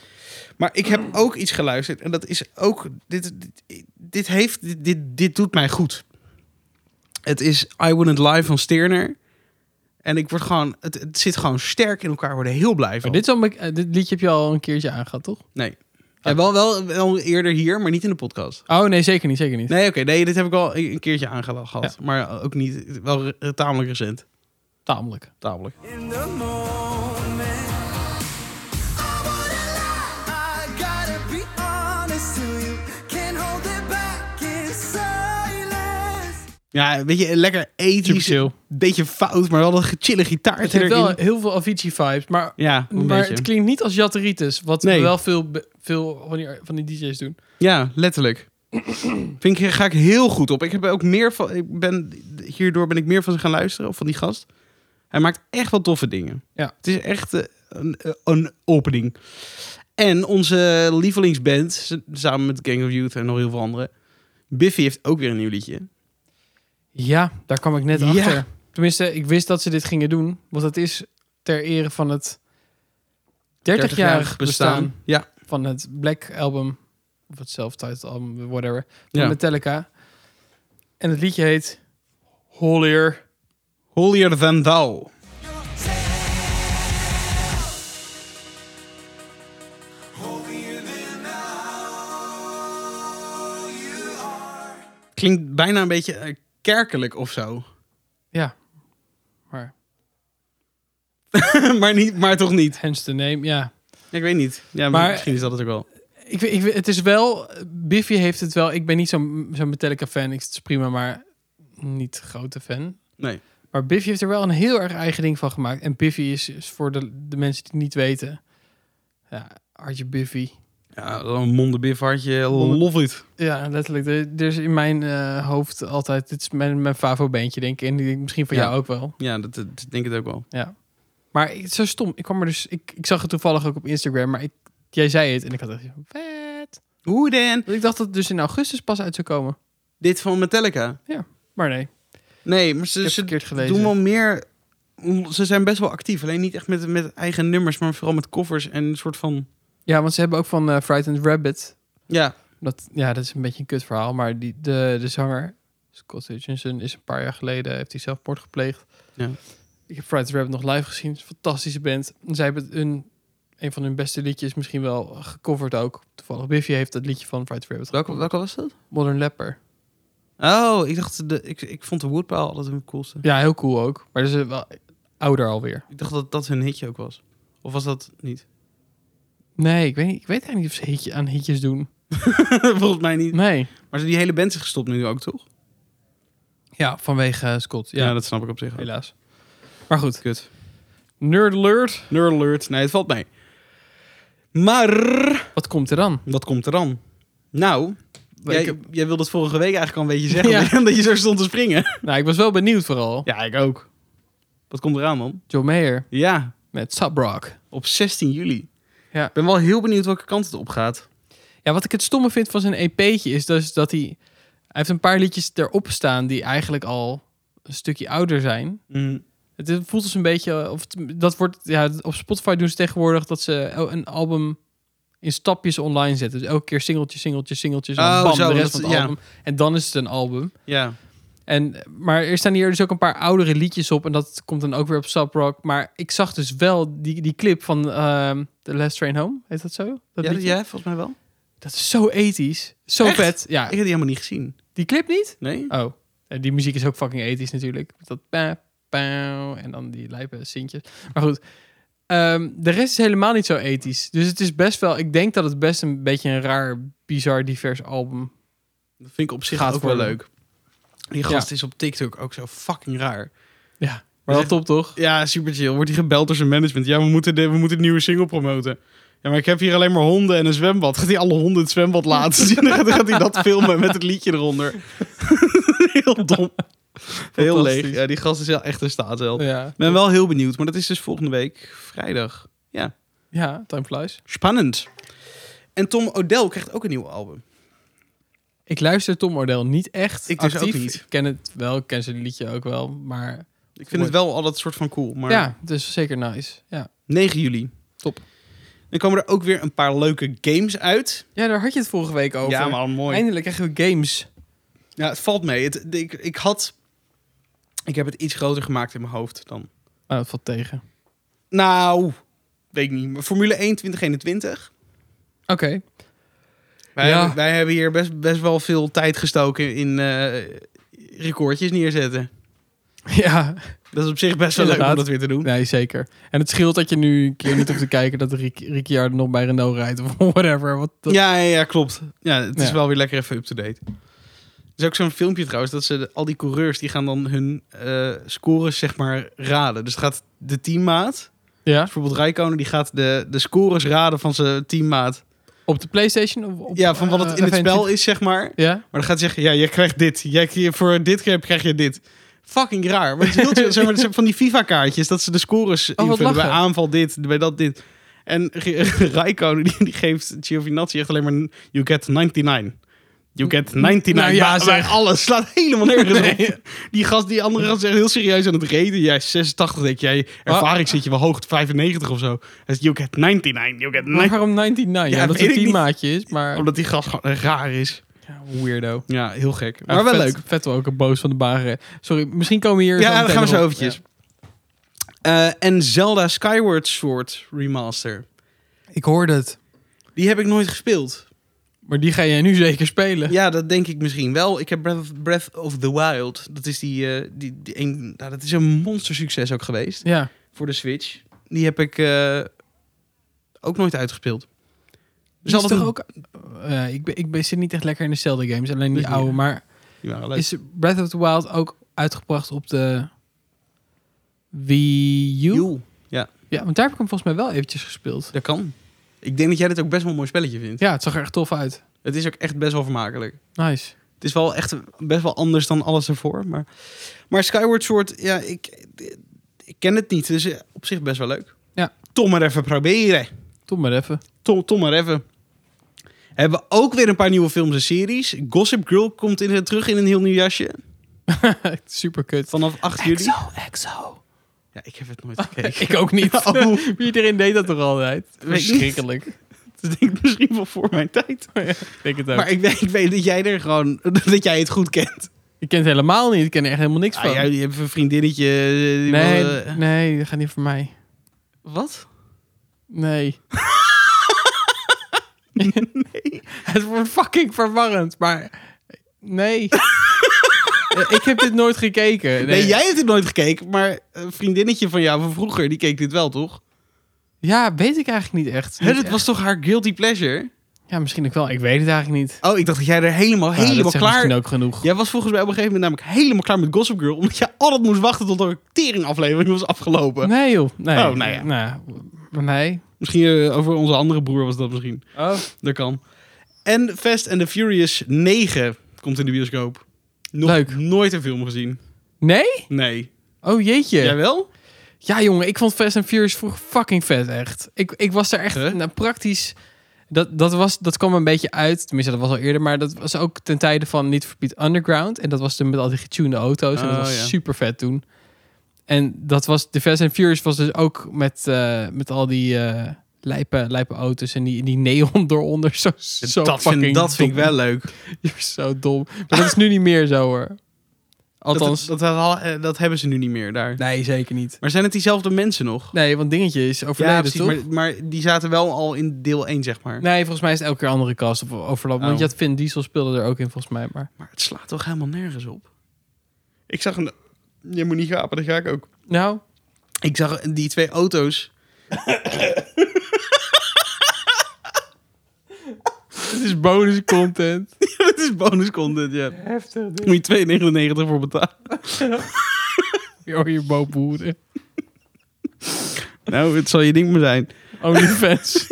Maar ik heb ook iets geluisterd en dat is ook. Dit, dit, dit heeft. Dit, dit, dit doet mij goed. Het is I Wouldn't Lie van Stirner. En ik word gewoon. Het, het zit gewoon sterk in elkaar. We worden heel blij van.
Maar dit, is al, een- eh, dit liedje heb je al een keertje aangehad, toch?
Nee. Ja, wel, wel, wel eerder hier, maar niet in de podcast.
Oh nee, zeker niet, zeker niet.
Nee, oké. nee, dit heb ik al een keertje aangehad. gehad, Maar ook niet. Wel re- tamelijk recent.
Tamelijk.
Tamelijk.
in the moment. I wanna lie, I gotta be honest to you. Can't hold it back in silence.
Ja, weet je, lekker ethisch.
Super chill.
Beetje fout, maar wel dat gechille
Het
gitaartje
heeft
erin.
wel heel veel Avicii-vibes, maar,
Ja, een
maar
beetje.
het klinkt niet als Jatteritis, wat
Nee.
wel veel, be- veel van, die, van die DJ's doen.
Ja, letterlijk. Vind ik, ga ik heel goed op. Ik heb ook meer van, ik ben, hierdoor ben ik meer van ze gaan luisteren, of van die gast. Hij maakt echt wel toffe dingen.
Ja.
Het is echt eh, een, eh, een opening. En onze lievelingsband, z- samen met Gang of Youth en nog heel veel anderen. Biffy heeft ook weer een nieuw liedje.
Ja, daar kwam ik net
Ja.
achter. Tenminste, ik wist dat ze dit gingen doen, want het is ter ere van het 30-jarig bestaan,
Ja,
van het Black Album, of het self-titled album, whatever, van
Ja.
Metallica. En het liedje heet Holier.
Holier Than Thou. Klinkt bijna een beetje eh, kerkelijk of zo.
Ja, maar
maar, niet, maar toch niet.
hence the name, ja.
Ja, ik weet niet. Ja, maar
Maar-
misschien is dat het ook wel.
Ik, weet- ik, weet- het is wel, Biffy heeft het wel. Ik ben niet zo'n zo'n Metallica fan. Ik het is prima, maar niet grote fan.
Nee.
Maar Biffy heeft er wel een heel erg eigen ding van gemaakt. En Biffy is, is voor de, de mensen die het niet weten. Ja, Artje Biffy.
Ja, dan een mondenbiff hartje.
Monden-
Love it.
Ja, letterlijk. Er, er is in mijn eh, hoofd altijd. Dit is mijn, mijn favo-bandje, denk ik. En die, misschien van
Ja.
jou ook wel.
Ja, dat, dat- dat denk ik ook wel.
Ja. Maar ik- het is zo stom. Ik kwam er dus. Ik, ik zag het toevallig ook op Instagram. Maar ik, jij zei het. En ik had echt. Vet.
Hoe dan?
Want Ik dacht dat het dus in augustus pas uit zou komen.
Dit van Metallica.
Maar nee.
Nee, maar
Ik
ze,
heb
ze
verkeerd gelezen.
doen wel meer... Ze zijn best wel actief. Alleen niet echt met, met eigen nummers, maar vooral met covers en een soort van...
Ja, want ze hebben ook van eh, Frightened Rabbit.
Ja,
Dat, ja, dat is een beetje een kut verhaal. Maar die, de, de zanger, Scott Hutchinson, is een paar jaar geleden... heeft hij zelfmoord gepleegd.
Ja.
Ik heb Frightened Rabbit nog live gezien. Het is een fantastische band. En zij hebben hun, een van hun beste liedjes misschien wel gecoverd ook. Toevallig Biffy heeft dat liedje van Frightened Rabbit
welke,
gecoverd.
welke was dat?
Modern Leper.
Oh, ik dacht... De, ik, ik vond de Woodpaal altijd hun coolste.
Ja, heel cool ook. Maar dat is eh, wel ouder alweer.
Ik dacht dat dat hun hitje ook was. Of was dat niet?
Nee, ik weet, niet, ik weet eigenlijk niet of ze hitje, aan hitjes doen.
Volgens mij niet.
Nee.
Maar die hele band is gestopt nu ook, toch?
Ja, vanwege eh, Scott. Ja,
dat snap ik op zich wel.
helaas. Maar goed,
Kut.
Nerd Alert.
Nerd alert. Nee, het valt mee. Maar...
Wat komt er dan?
Wat komt er dan? Nou, jij,
Ik-
jij wilde het vorige week eigenlijk al een beetje zeggen.
Ja.
omdat je zo stond te springen.
Nou, ik was wel benieuwd vooral.
Ja, ik ook. Wat komt eraan dan?
John Mayer
Ja,
met Subrock.
op 16 juli.
Ja.
Ik ben wel heel benieuwd welke kant het op gaat.
Ja, wat ik het stomme vind van zijn EP'tje is dus dat hij... Hij heeft een paar liedjes erop staan die eigenlijk al een stukje ouder zijn.
Mm.
Het is- voelt als een beetje... Of het- dat wordt, ja, op Spotify doen ze tegenwoordig dat ze el- een album in stapjes online zetten. Dus elke keer singeltje, singeltje, singeltje. en
Oh,
bam,
zo,
de rest
dat-
van het
ja.
album. En dan is het een album.
Ja.
En, maar er staan hier dus ook een paar oudere liedjes op. En dat komt dan ook weer op Subrock. Maar ik zag dus wel die, die clip van ehm The Last Train Home. Heet dat zo? Dat,
Ja,
liedje?
ja, volgens mij wel.
dat is zo ethisch. Zo
Echt?
vet. Ja,
Ik heb die helemaal niet gezien.
die clip niet?
Nee?
Oh, en die muziek is ook fucking ethisch natuurlijk. Dat pa, pa, en dan die lijpe sintjes. Maar goed, ehm, de rest is helemaal niet zo ethisch. Dus het is best wel... Ik denk dat het best een beetje een raar, bizar, divers album...
Dat vind ik op zich
Gaat
ook wel
worden.
leuk. Die gast is op TikTok ook zo fucking raar.
Ja, maar wel
Dus-
top toch?
Ja, super chill. Wordt hij gebeld door zijn management. Ja, we moeten, de, we moeten de nieuwe single promoten. Ja, maar ik heb hier alleen maar honden en een zwembad. Gaat hij alle honden het zwembad laten zien? Dan gaat- dan gaat hij dat filmen met het liedje eronder. heel dom. Heel leeg.
Fantastisch.
Ja, die gast is wel echt een staatsheld. Ik
Ja,
ben wel heel benieuwd, maar dat is dus volgende week vrijdag. Ja,
ja time flies.
spannend. En Tom O'Dell krijgt ook een nieuw album.
Ik luister Tom O'Dell niet echt
Ik dus
actief.
ook niet.
Ik ken het wel, ik ken zijn liedje ook wel. Maar
Ik vind het wel altijd soort van cool. Maar
ja, dus zeker nice. Ja.
9 juli.
Top.
Dan komen er ook weer een paar leuke games uit.
ja, daar had je het vorige week over.
Ja, maar mooi.
Eindelijk krijgen we games.
Ja, het valt mee. Het, ik, ik had... Ik heb het iets groter gemaakt in mijn hoofd dan...
Oh, dat valt tegen.
Nou, weet ik niet. Maar Formule 1 2021.
Oké.
Wij,
Ja.
hebben, wij hebben hier best, best wel veel tijd gestoken in eh, recordjes neerzetten.
Ja,
Dat is op zich best wel leuk om
Inderdaad.
dat weer te doen.
nee, zeker. En het scheelt dat je nu een keer niet hoeft te kijken dat Ric- Ricciardo nog bij Renault rijdt of whatever. Wat dat-
Ja, ja, ja, klopt. Ja, het is
Ja.
wel weer lekker even up-to-date. Er is ook zo'n filmpje trouwens, dat ze de- al die coureurs, die gaan dan hun eh, scores zeg maar raden. Dus gaat de teammaat, dus
ja.
bijvoorbeeld Rijkonen, die gaat de, de scores raden van zijn teammaat.
Op de PlayStation? Of op,
Ja, van wat het
eh,
in het spel
F21?
is zeg maar.
Ja.
Maar dan gaat hij zeggen, ja, jij krijgt dit. Jij, krijgt- voor dit keer krijg je dit. Fucking raar. Maar het is heel chill. Zeg maar, het zijn van die FIFA-kaartjes, dat ze de scores
Oh, wat
invullen. Bij
lachen.
aanval dit, bij dat dit. En Ge- Rijkonen, die, die geeft Giovinazzi echt alleen maar... een, You get 99. You get 99.
Nou ja,
Bij- bij
zeg.
alles. Slaat helemaal nergens op. Die, gast, die andere gast is echt heel serieus aan het reden. Jij is 86, denk jij. Ervaring
Oh.
zit je wel hoog, 95 of zo. Hij zegt, you get 99. You get
Maar
99.
waarom 99? Ja,
Ja,
dat
weet
het
ik niet.
teammaatje is, maar
Omdat die gast gewoon raar is.
Ja, weirdo.
Ja, heel gek.
Ja,
Maar wel
vet,
leuk.
Vettel ook een boos van de baren. Sorry, misschien komen we
Ja,
hier meteen
daar gaan we
nog
zo
op.
eventjes.
Ja.
Eh, en Zelda Skyward Sword Remaster.
Ik hoorde het.
Die heb ik nooit gespeeld.
Maar die ga jij nu zeker spelen.
Ja, dat denk ik misschien wel. Ik heb Breath of, Breath of the Wild. Dat is, die, eh, die, die een, nou, dat is een monstersucces ook geweest
Ja.
voor de Switch. Die heb ik eh, ook nooit uitgespeeld.
Is
altijd
toch
een-
ook... Ja, ik, ben, ik ben, zit niet echt lekker in de Zelda games. Alleen die
Dus niet,
oude.
ja.
Maar
Die waren leuk.
is Breath of the Wild ook uitgebracht op de Wii U?
Joe,
Ja, want daar heb ik hem volgens mij wel eventjes gespeeld.
Dat kan. Ik denk dat jij dit ook best wel een mooi spelletje vindt.
Ja, het zag er echt tof uit.
Het is ook echt best wel vermakelijk.
Nice.
Het is wel echt best wel anders dan alles ervoor. Maar, maar Skyward Sword, ja, ik, ik ken het niet. Dus eh, op zich best wel leuk.
Ja.
Tom maar even proberen.
Tot maar even.
Tom, Tom maar even. Hebben we ook weer een paar nieuwe films en series. Gossip Girl komt in, eh, terug in een heel nieuw jasje.
Super kut.
Vanaf 8 juli.
exo.
Ja, ik heb het nooit gekeken.
Ik ook niet.
Oh.
Iedereen deed dat toch altijd?
Weet ik
Verschrikkelijk.
Dat denk ik misschien wel voor mijn tijd.
Ik denk het ook.
Maar ik weet, ik weet dat jij er gewoon... Dat jij het goed kent.
Ik ken het helemaal niet. Ik ken er echt helemaal niks
Ah,
van.
jij je hebt een vriendinnetje. eh, die
nee,
wil, eh,
nee, dat gaat niet voor mij.
Wat?
Nee.
eh,
Het wordt fucking verwarrend, maar... Nee. Eh, ik heb dit nooit gekeken.
Nee, jij hebt het nooit gekeken, maar een vriendinnetje van jou van vroeger, die keek dit wel, toch?
Ja, weet ik eigenlijk niet echt.
Hè,
Niet
dat
echt.
was toch haar guilty pleasure?
Ja, misschien ook wel. Ik weet het eigenlijk niet.
Oh, ik dacht dat jij er helemaal,
Nou,
helemaal
dat zegt
klaar...
misschien ook genoeg.
Jij was volgens mij op een gegeven moment namelijk helemaal klaar met Gossip Girl, omdat je altijd moest wachten tot de teringaflevering was afgelopen.
Nee joh. Nee.
Oh, nou ja.
Nou, nee.
Misschien eh, over onze andere broer was dat misschien.
Oh.
Dat kan. En Fast and the Furious 9 komt in de bioscoop. Nog
Leuk.
nooit een film gezien.
Nee?
Nee.
Oh jeetje.
Jij wel?
Ja, jongen, ik vond Fast and Furious vroeger fucking vet, echt. Ik, ik was daar echt
Huh?
nou, praktisch... Dat, dat, was, dat kwam een beetje uit, tenminste dat was al eerder, maar dat was ook ten tijde van Niet Verbied Underground. En dat was toen met al die getunede auto's en dat
Oh,
was
ja.
super vet toen. En dat was, de Fast and Furious was dus ook met, eh, met al die eh lijpe, lijpe auto's en die, die neon eronder. Zo, zo
dat
fucking
vind, dat vind ik
dom.
wel leuk.
Je bent zo dom. Maar dat is nu niet meer zo hoor. Althans,
Dat, dat, dat, eh, dat hebben ze nu niet meer daar.
nee, zeker niet.
Maar zijn het diezelfde mensen nog?
Nee, want dingetje is overleden, toch?
Maar, maar die zaten wel al in deel 1, zeg maar.
Nee, volgens mij is het elke keer een andere cast of overlap. Want
Oh.
je had Vin Diesel speelde er ook in, volgens mij. Maar
Maar het slaat toch helemaal nergens op? Ik zag een... Je moet niet gapen, dat ga ik ook.
nou,
Ik zag die twee auto's.
het is bonus content.
dat is bonus content, ja. Heftig. Moet je 2,99 voor betalen. Oh,
Yo, je boboeren.
nou, het zal je ding maar zijn.
Onlyfans.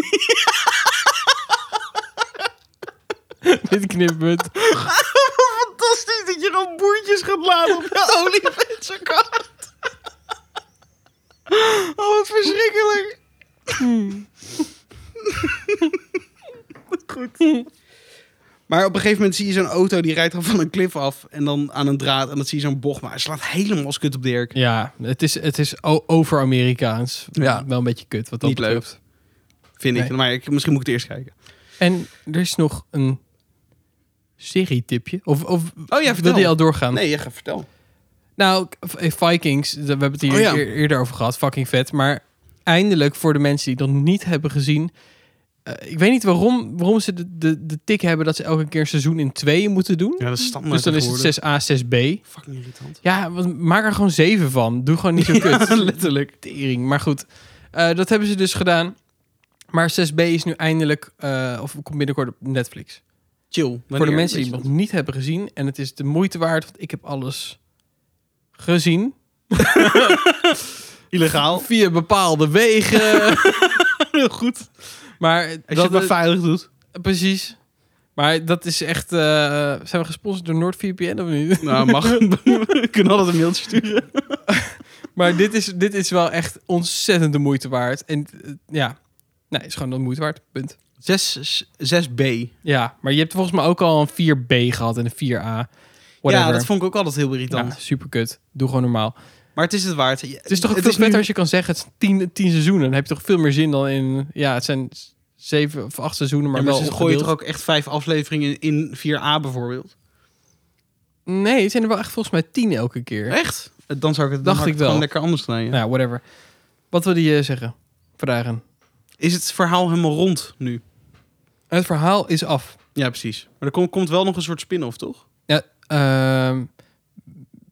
Dit knippen we.
Fantastisch dat je gewoon boertjes gaat laden op je OnlyFans-account. oh, wat verschrikkelijk. Goed. Maar op een gegeven moment zie je zo'n auto die rijdt dan van een klif af en dan aan een draad. En dan zie je zo'n bocht, maar hij slaat helemaal als kut op Dirk.
Ja, het is, het is o- over Amerikaans.
Ja.
Wel een beetje kut wat dat
Niet leuk.
betreft.
Vind ik.
Nee.
Maar ik, misschien moet ik het eerst kijken.
En er is nog een serietipje. Of, of
Oh ja,
wil
vertel.
die al doorgaan?
Nee, je gaat vertel.
Nou, k- Vikings, we hebben het hier
Oh ja.
eer- eerder over gehad. Fucking vet. Maar eindelijk voor de mensen die dat niet hebben gezien. eh, ik weet niet waarom, waarom ze de, de, de tik hebben dat ze elke keer een seizoen in tweeën moeten doen.
Ja, dat is standaard
dus dan is
tegenwoordig.
het 6a, 6b.
Fucking irritant.
Ja, want maak er gewoon zeven van. Doe gewoon niet zo kut.
letterlijk.
Tering. Maar goed, eh, dat hebben ze dus gedaan. Maar 6b is nu eindelijk, eh, of komt binnenkort op Netflix.
Chill.
Voor de
Wanneer?
mensen
Weet
die
je dat?
het nog niet hebben gezien. En het is de moeite waard, want ik heb alles gezien.
Illegaal.
Via bepaalde wegen. Heel goed. Maar
Als je
dat,
het maar veilig doet.
precies. Maar dat is echt... eh, zijn we gesponsord door NordVPN of niet?
Nou, mag. We kunnen altijd een mailtje sturen.
Maar dit is, dit is wel echt ontzettend de moeite waard. En eh, ja, nee, is gewoon de moeite waard. Punt.
6, 6b.
Ja, maar je hebt volgens mij ook al een 4B gehad en een 4A. Whatever.
Ja, dat vond ik ook altijd heel irritant.
super kut. Doe gewoon normaal.
Maar het is het waard. Het
Het is toch veel beter als je kan zeggen, het is tien, tien seizoenen. Dan heb je toch veel meer zin dan in... Ja, het zijn s- zeven of acht seizoenen, maar
Maar,
wel
ze gooien
opgedeeld.
toch ook echt vijf afleveringen in 4a bijvoorbeeld?
Nee, het zijn er wel echt volgens mij tien elke keer.
Echt? Dan zou ik het, dan
Dacht
had
ik
ik het gewoon
wel.
lekker anders snijden.
Nou, whatever. Wat wil je zeggen? Vragen.
Is het verhaal helemaal rond nu?
Het verhaal is af.
Ja, precies. Maar er komt, komt wel nog een soort spin-off, toch?
Ja, ehm,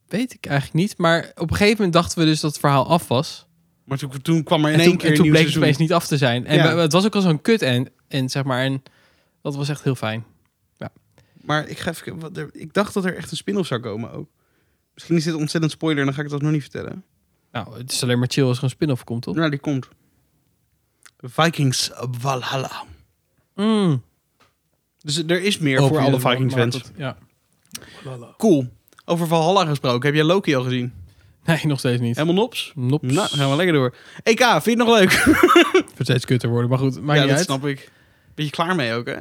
weet ik eigenlijk niet. Maar op een gegeven moment dachten we dus dat het verhaal af was.
Maar toen, toen kwam er in
En
één
toen,
keer
en
een
toen
nieuw
bleek het
seizoen.
opeens niet af te zijn. En
Ja.
we- het was ook al zo'n kut en, en zeg maar. En dat was echt heel fijn.
Maar ik, ga even, wat er- ik dacht dat er echt een spin-off zou komen ook. Misschien is dit ontzettend spoiler en dan ga ik dat nog niet vertellen.
Nou, het is alleen maar chill als er een spin-off komt, toch?
Nou, die komt. Vikings Valhalla.
Mm.
Dus er is meer voor
Hoop je
alle
dat wel,
Vikings
maar
fans.
goed, Ja.
Cool. Over Valhalla gesproken. Heb jij Loki al gezien?
Nee, nog steeds niet.
Helemaal nops?
Nops.
Nou, gaan we lekker door. EK, vind je het nog leuk?
Voor steeds kutter worden, maar goed, maakt
ja,
niet
dat
uit.
snap ik. Ben je klaar mee ook, hè?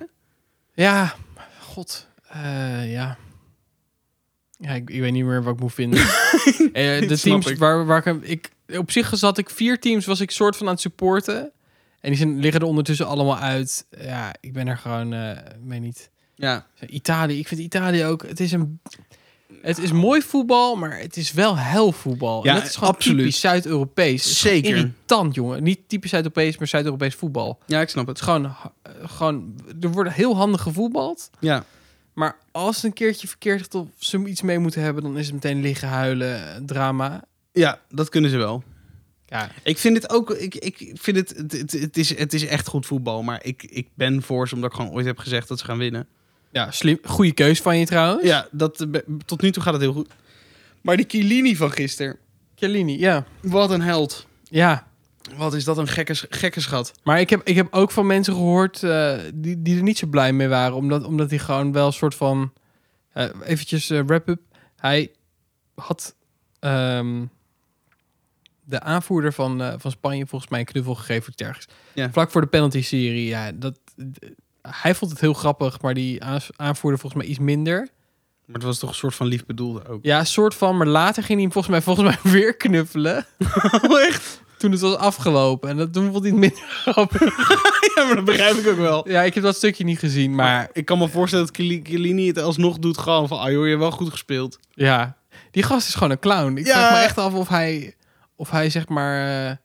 Ja, god. eh, ja. Ja, ik, ik weet niet meer wat ik moet vinden. Eh, de
Dat snap
teams
ik.
waar, waar ik, hem- ik... Op zich zat ik vier teams, was ik soort van aan het supporten. En die zijn, liggen er ondertussen allemaal uit. Ja, ik ben er gewoon... eh, Ik weet niet.
Ja.
Italië, ik vind Italië ook... Het is een... Het is mooi voetbal, maar het is wel hel voetbal.
Ja,
en dat is gewoon
absoluut.
typisch Zuid-Europees. Het is gewoon
Zeker.
Irritant, jongen. Niet typisch Zuid-Europees, maar Zuid-Europees voetbal.
Ja, ik snap
Het
het.
is gewoon, ha- eh, gewoon, er wordt heel handig gevoetbald.
Ja.
Maar als het een keertje verkeerd gaat of ze iets mee moeten hebben, dan is het meteen liggen huilen, eh, drama.
ja, dat kunnen ze wel.
Ja,
Ik vind het ook, ik, ik vind het, het, het- het, is, het is echt goed voetbal. Maar ik, ik ben voor ze, omdat ik gewoon ooit heb gezegd dat ze gaan winnen.
ja slim, goede keus van je trouwens.
Ja, dat, eh, be- tot nu toe gaat het heel goed. Maar die Chiellini van gisteren,
Chiellini, ja.
wat een held.
Ja,
Wat is dat een gekke, sch- gekke schat.
maar ik heb, ik heb ook van mensen gehoord eh, die, die er niet zo blij mee waren. Omdat, omdat hij gewoon wel een soort van, eh, eventjes eh, wrap-up. Hij had ehm, de aanvoerder van, eh, van Spanje volgens mij een knuffel gegeven of iets ergens.
Ja.
Vlak voor de penalty-serie, ja, dat... d- Hij vond het heel grappig, maar die aans- aanvoerder volgens mij iets minder.
Maar het was toch een soort van lief bedoelde ook.
Ja, soort van, maar later ging hij hem volgens mij, volgens mij weer knuffelen. Echt? Toen het was afgelopen. En dat, toen vond hij het minder grappig.
Ja, maar dat begrijp ik ook wel.
Ja, ik heb dat stukje niet gezien, maar
Maar ik kan me voorstellen dat Chiell- Chiellini het alsnog doet gewoon van... Ah joh, je hebt wel goed gespeeld.
ja. Die gast is gewoon een clown. Ik
Ja.
vraag me echt af of hij, of hij zeg maar eh,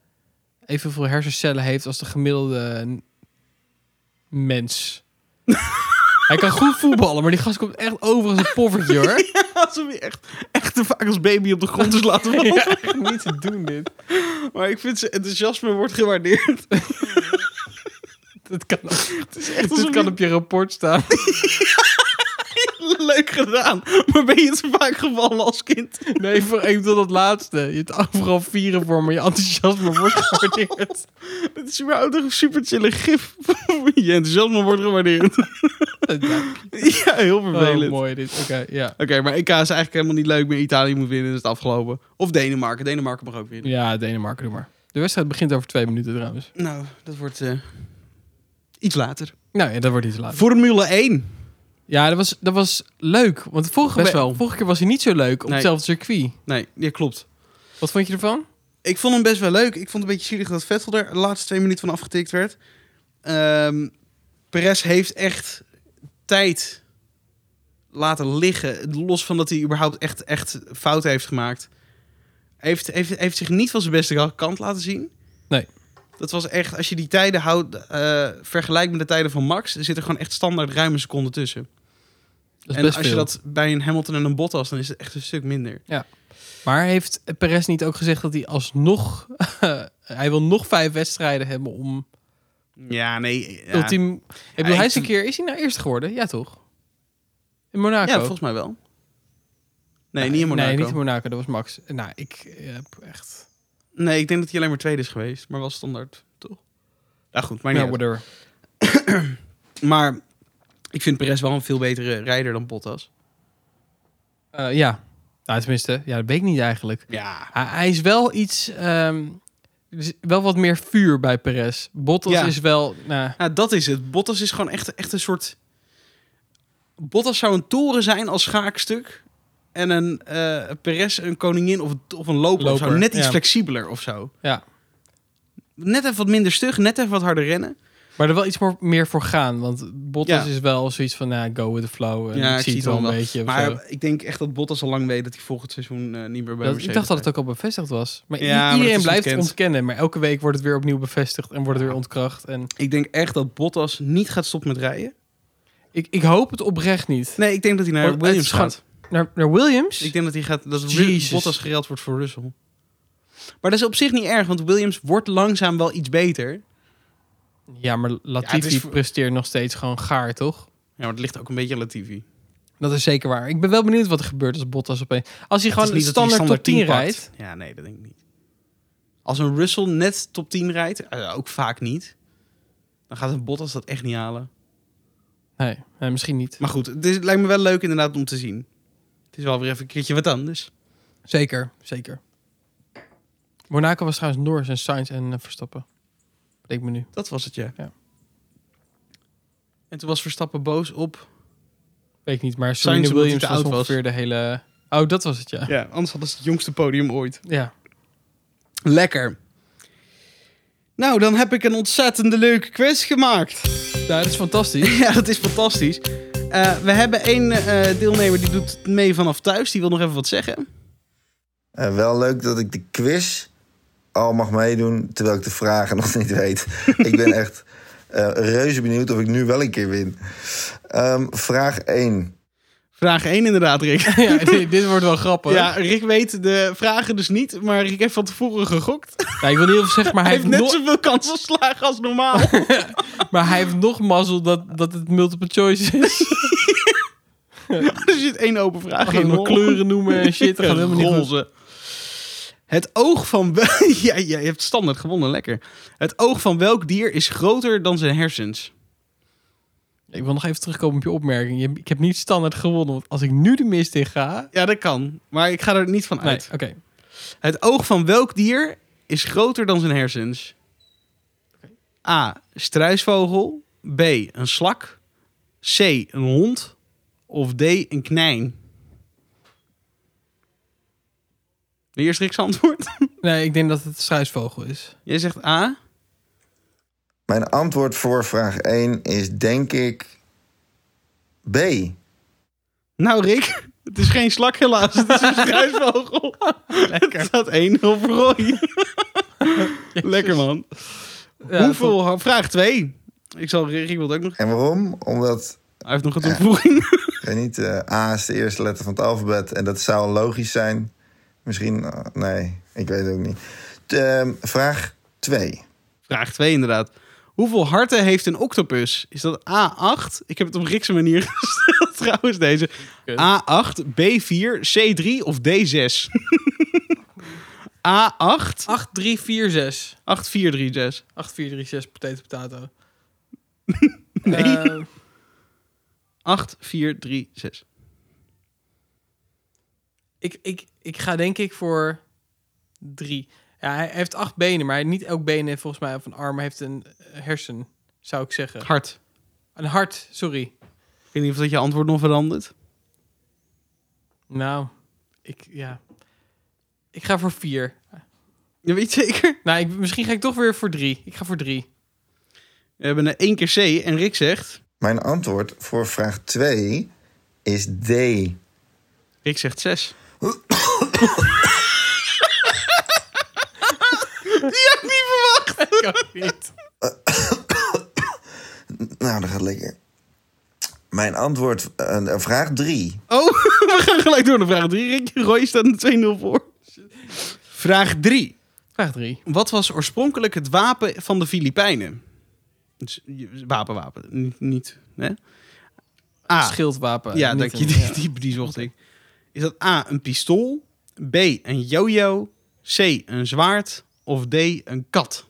evenveel hersencellen heeft als de gemiddelde n- mens. hij kan goed voetballen, maar die gast komt echt over als een poffertje hoor.
Alsof je echt, echt te vaak als baby op de grond is laten vallen.
Ja, echt niet te doen dit.
Maar ik vind zijn enthousiasme wordt gewaardeerd.
Dat kan, op-
alsof
dit kan
je-
op je rapport staan.
Leuk gedaan. Maar ben je het zo vaak gevallen als kind?
Nee, voor, ik bedoel dat laatste. Je hebt overal vieren voor, maar je enthousiasme wordt gewaardeerd.
Het is überhaupt een super chille gif. je enthousiasme wordt gewaardeerd. ja, heel
Oh,
vervelend. Oké,
mooi dit. Oké, ja.
maar EK is eigenlijk helemaal niet leuk meer. Italië moet winnen, dat is het afgelopen. Of Denemarken. Denemarken mag ook winnen.
Ja, Denemarken, doe maar. De wedstrijd begint over twee minuten trouwens.
Nou, dat wordt eh, iets later.
Nou ja, dat wordt iets later.
Formule 1.
Ja, dat was, dat was leuk. Want vorige,
Best
be-
wel.
vorige keer was hij niet zo leuk op
Nee.
hetzelfde circuit.
Nee, ja, klopt.
Wat vond je ervan?
Ik vond hem best wel leuk. Ik vond het een beetje zielig dat Vettel er de laatste twee minuten van afgetikt werd. Ehm Perez heeft echt tijd laten liggen. Los van dat hij überhaupt echt, echt fouten heeft gemaakt. Hij Heeft, heeft, heeft zich niet van zijn beste kant laten zien.
Nee.
Dat was echt, als je die tijden houdt, eh, vergelijkt met de tijden van Max, er zit er gewoon echt standaard ruime seconden tussen.
Dat is
en als
best
je
veel.
dat bij een Hamilton en een Bottas, dan is het echt een stuk minder.
Maar heeft Perez niet ook gezegd dat hij alsnog... hij wil nog vijf wedstrijden hebben om
Ja, nee. Ja,
ultiem... Ik bedoel,
ik
hij is
vind-
een keer... Is hij nou eerst geworden? Ja, toch? In Monaco.
ja volgens mij wel. Nee, niet in Monaco.
Nee,
Nee,
niet in Monaco. Dat was Max. Nou, ik eh, heb echt...
ik denk dat hij alleen maar tweede is geweest, maar wel standaard, toch? Nou goed, maar, niet uit.
Nou, whatever.
maar ik vind Perez wel een veel betere rijder dan Bottas.
Eh, ja. Nou, tenminste. Ja, dat weet ik niet eigenlijk.
Ja.
Hij, hij is wel iets... ehm, er is wel wat meer vuur bij Perez. Bottas
Ja.
is wel... nou,
Ja, dat is het. Bottas is gewoon echt, echt een soort... Bottas zou een toren zijn als schaakstuk. En een eh Perez een koningin of, een- of een loper, of zo.
Loper,
Net iets
ja.
flexibeler of zo.
ja.
Net even wat minder stug, net even wat harder rennen.
Maar er wel iets voor- meer voor gaan. Want Bottas
Ja.
is wel zoiets van... nou, go with the flow. En
Ja,
ik, zie het wel een beetje. of
Maar
zo.
ik denk echt dat Bottas al lang weet dat hij volgend seizoen eh, niet meer bij
Dat-
Mercedes
ik dacht dat
rijdt.
het ook al bevestigd was. Maar i-
Ja, maar dat
iedereen
is
blijft
ontkend.
ontkennen. Maar elke week wordt het weer opnieuw bevestigd. En wordt het weer ontkracht. En
Ik denk echt dat Bottas niet gaat stoppen met rijden.
ik, ik hoop het oprecht niet.
Nee, ik denk dat hij naar
Want Oh, het
Williams
is gewoon-
gaat.
Naar, naar Williams?
Ik denk dat hij gaat dat Ru-
Jezus.
Bottas gereld wordt voor Russell. Maar dat is op zich niet erg, want Williams wordt langzaam wel iets beter.
Ja, maar
het
Latifi
is voor-
presteert nog steeds gewoon gaar, toch?
Ja, maar het ligt ook een beetje aan Latifi.
Dat is zeker waar. Ik ben wel benieuwd wat er gebeurt als Bottas opeens... Als hij gewoon standaard, top 10 rijdt...
Ja, nee, dat denk ik niet. Als een Russell net top 10 rijdt, eh, ook vaak niet, dan gaat een Bottas dat echt niet halen.
Nee, nee, misschien niet.
Maar goed, het, is- het lijkt me wel leuk inderdaad om te zien. Het is wel weer even een keertje wat anders.
Zeker, zeker. Monaco was trouwens Norris en Sainz en eh, Verstappen. Denk me nu.
Dat was het, ja.
Ja.
En toen was Verstappen boos op...
Weet ik niet, maar
Sainz
Serena
omdat hij
Williams
te
was
oud was.
ongeveer de hele... Oh, dat was het, ja.
Ja, anders hadden ze het jongste podium ooit.
Ja.
Lekker. Nou, dan heb ik een ontzettende leuke quiz gemaakt.
Nou, dat is fantastisch.
Ja, dat is fantastisch. Eh, we hebben één eh, deelnemer die doet het mee vanaf thuis. Die wil nog even wat zeggen.
En Eh, wel leuk dat ik de quiz al mag meedoen, terwijl ik de vragen nog niet weet. ik ben echt eh, reuze benieuwd of ik nu wel een keer win. Ehm, vraag 1.
Vraag 1 inderdaad, Rick.
ja, dit, dit wordt wel grappig.
Ja, Rick weet de vragen dus niet, maar Rick heeft van tevoren gegokt. Hij,
Nou, ik wil niet heel veel zeggen, maar hij,
heeft
heeft
net
nog,
zoveel kans op slagen als normaal.
maar hij heeft nog mazzel dat, dat het multiple choice is.
er zit één open vraag in.
Geen
hoor.
Oh, kleuren noemen en shit. Dat gaat helemaal niet goed.
Roze. Het oog van... wel- ja, ja, je hebt standaard gewonnen, lekker. Het oog van welk dier is groter dan zijn hersens?
Ik wil nog even terugkomen op je opmerking. Je- ik heb niet standaard gewonnen, want als ik nu de mist in ga...
Ja, dat kan. Maar ik ga er niet van
Nee,
uit.
oké.
Het oog van welk dier is groter dan zijn hersens? A. Struisvogel. B. Een slak. C. Een hond. Of D. Een knijn. De eerste Riks antwoord.
Nee, ik denk dat het een struisvogel is.
Jij zegt A.
Mijn antwoord voor vraag 1 is denk ik B.
Nou, Rick, het is geen slak helaas. Het is een struisvogel. Het staat 1-0 voor Roy. Lekker man.
Ja,
Hoeveel? Vraag 2. Ik zal Rick wil het ook nog.
En waarom? Omdat
Hij heeft nog een toevoeging.
ik weet niet, eh, A is de eerste letter van het alfabet en dat zou logisch zijn. Misschien, eh, nee, ik weet het ook niet. Ehm, vraag 2.
Vraag 2 inderdaad. Hoeveel harten heeft een octopus? Is dat A8? Ik heb het op Rickse manier gesteld trouwens deze. A8, B4, C3 of D6? A8,
8, 3, 4, 6.
8, 4, 3, 6.
8, 4, 3, 6, potato, potato.
Nee.
Eh,
8, 4, 3, 6.
ik, ik, ik ga denk ik voor 3. Ja, hij heeft acht benen, maar niet elk been heeft volgens mij, of een arm heeft een hersen, zou ik zeggen.
Hart.
Een hart, sorry.
weet niet of dat je antwoord nog verandert.
Nou, ik, ja. Ik ga voor vier.
Je weet zeker.
Nou, ik, misschien ga ik toch weer voor drie. Ik ga voor drie.
We hebben een één keer C en Rick zegt...
Mijn antwoord voor vraag 2 is D.
Rick zegt zes.
Nou, dat gaat lekker. Mijn antwoord, eh, vraag 3.
Oh, we gaan gelijk door naar vraag 3. Rick, Roy staat een 2-0 voor. Vraag 3.
Vraag drie.
Wat was oorspronkelijk het wapen van de Filipijnen? Dus, je- wapen, wapen. Niet, niet hè? A.
Schildwapen.
Ja,
Niet
dank je.
een-
Die,
ja.
die, die zocht ik. Is dat A, een pistool? B, een jojo? C, een zwaard? Of D, een kat?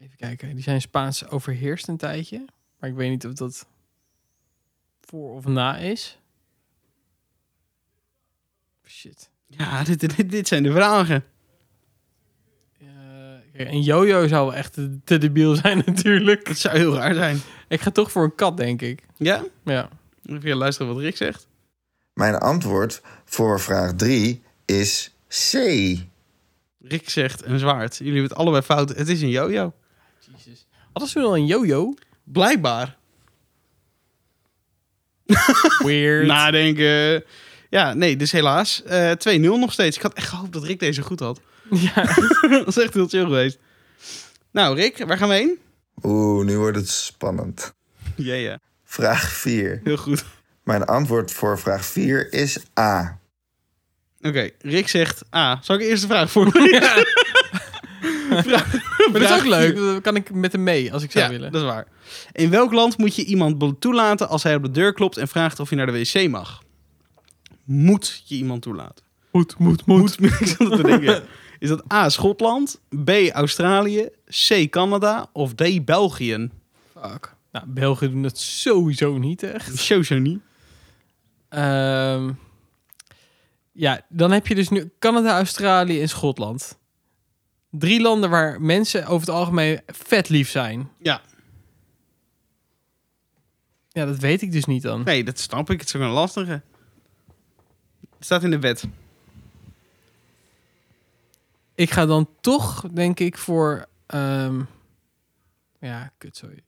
Even kijken. Die zijn Spaans overheerst een tijdje. Maar ik weet niet of dat voor of na is. Shit.
Ja, dit, dit, dit zijn de vragen.
Eh, kijk, een jojo zou wel echt te- te debiel zijn natuurlijk.
Dat zou heel raar zijn.
Ik ga toch voor een kat, denk ik.
Ja?
Ja.
Even luisteren wat Rick zegt.
Mijn antwoord voor vraag 3 is C.
Rick zegt een zwaard. Jullie hebben het allebei fout. Het is een jojo.
Hadden ze al een jojo?
Blijkbaar.
Weird.
Nadenken. Ja, nee, dus helaas. eh 2-0 nog steeds. Ik had echt gehoopt dat Rick deze goed had.
Ja.
dat is echt heel chill geweest. Nou, Rick, waar gaan we heen?
Oeh, nu wordt het spannend.
Ja, ja.
Vraag 4.
Heel goed.
Mijn antwoord voor vraag 4 is A.
Oké, Rick zegt A. Zal ik eerst de vraag voorlezen? Vraag-
Maar dat is
vraag
ook leuk.
vier.
Dan kan ik met hem mee, als ik zou
Ja,
willen.
dat is waar. In welk land moet je iemand be- toelaten als hij op de deur klopt en vraagt of je naar de wc mag? Moet je iemand toelaten?
Moet, moet, moet.
Ik zat te denken. Is dat A, Schotland, B, Australië, C, Canada of D, België?
Fuck. Nou, Belgen doen dat sowieso niet echt.
Sowieso niet.
Ehm, ja, dan heb je dus nu Canada, Australië en Schotland. Drie landen waar mensen over het algemeen vet lief zijn.
Ja,
Ja, dat weet ik dus niet dan.
nee, dat snap ik. Het is ook een lastige. Het staat in de wet.
Ik ga dan toch, denk ik, voor... ehm, ja, kut, sorry.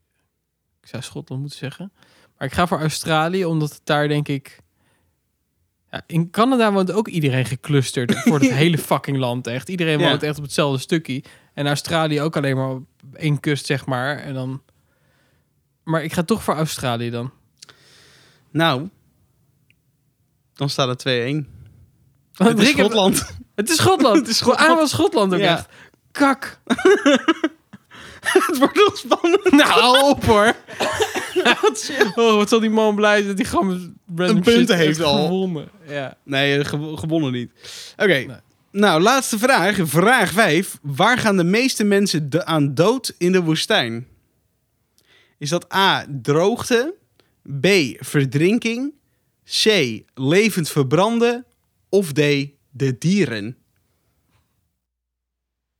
Ik zou Schotland moeten zeggen. Maar ik ga voor Australië, omdat het daar, denk ik... Ja, in Canada woont ook iedereen geclusterd voor het hele fucking land, echt. Iedereen
Ja.
woont echt op hetzelfde stukje. En Australië ook alleen maar op één kust, zeg maar. En dan... Maar ik ga toch voor Australië dan.
Nou, dan staat het 2-1.
Want
Het is
Rick heeft-
Schotland.
Het is Schotland. Ah, Het is Schotland. was Schotland ook
Ja.
echt. Kak.
Het wordt nog spannend.
Nou, hou op hoor. oh, wat zal die man blij zijn dat hij gewoon met random
Een punten
shit
heeft al.
gewonnen. Ja.
Nee, eh, gew- gewonnen niet. Oké. Nou, laatste vraag. Vraag 5. Waar gaan de meeste mensen de- aan dood in de woestijn? Is dat A. Droogte. B. Verdrinking. C. Levend verbranden. Of D. De dieren.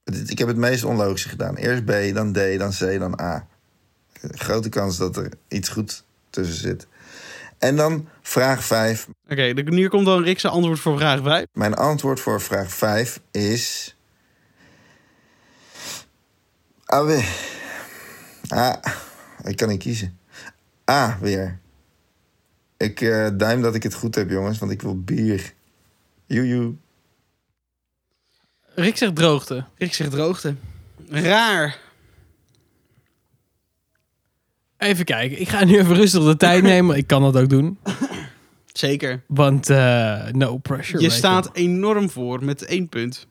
Dit- Ik heb het meest onlogische gedaan. Eerst B, dan D, dan C, dan A. Grote kans dat er iets goed tussen zit. En dan vraag 5.
Oké, de- nu komt dan Rick zijn antwoord voor vraag 5.
Mijn antwoord voor vraag 5 is. A Ah, weer. A. Ik kan niet kiezen. A weer. Ik eh, duim dat ik het goed heb, jongens, want ik wil bier. Joejoe.
Rick zegt droogte.
Rick zegt droogte. Raar.
Even kijken. Ik ga nu even rustig de tijd nemen. Ik kan dat ook doen.
Zeker.
Want eh, no pressure.
Je
weet
staat enorm voor met één punt.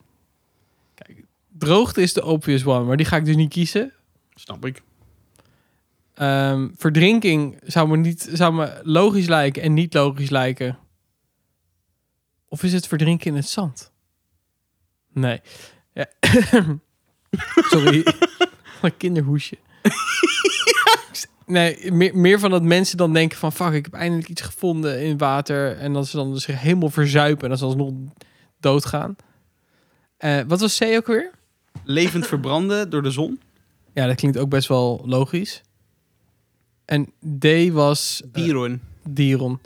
Droogte is de obvious one, maar die ga ik dus niet kiezen.
Snap ik.
Ehm, verdrinking zou me, niet, zou me logisch lijken en niet logisch lijken. Of is het verdrinken in het zand? Nee. Ja. Sorry. Een kinderhoesje. Nee, meer, meer van dat mensen dan denken van... fuck, ik heb eindelijk iets gevonden in water. En dat ze dan dus zich helemaal verzuipen. En dat ze alsnog doodgaan. Eh, wat was C ook weer?
Levend verbranden door de zon.
Ja, dat klinkt ook best wel logisch. En D was eh,
Dieren.
dieren.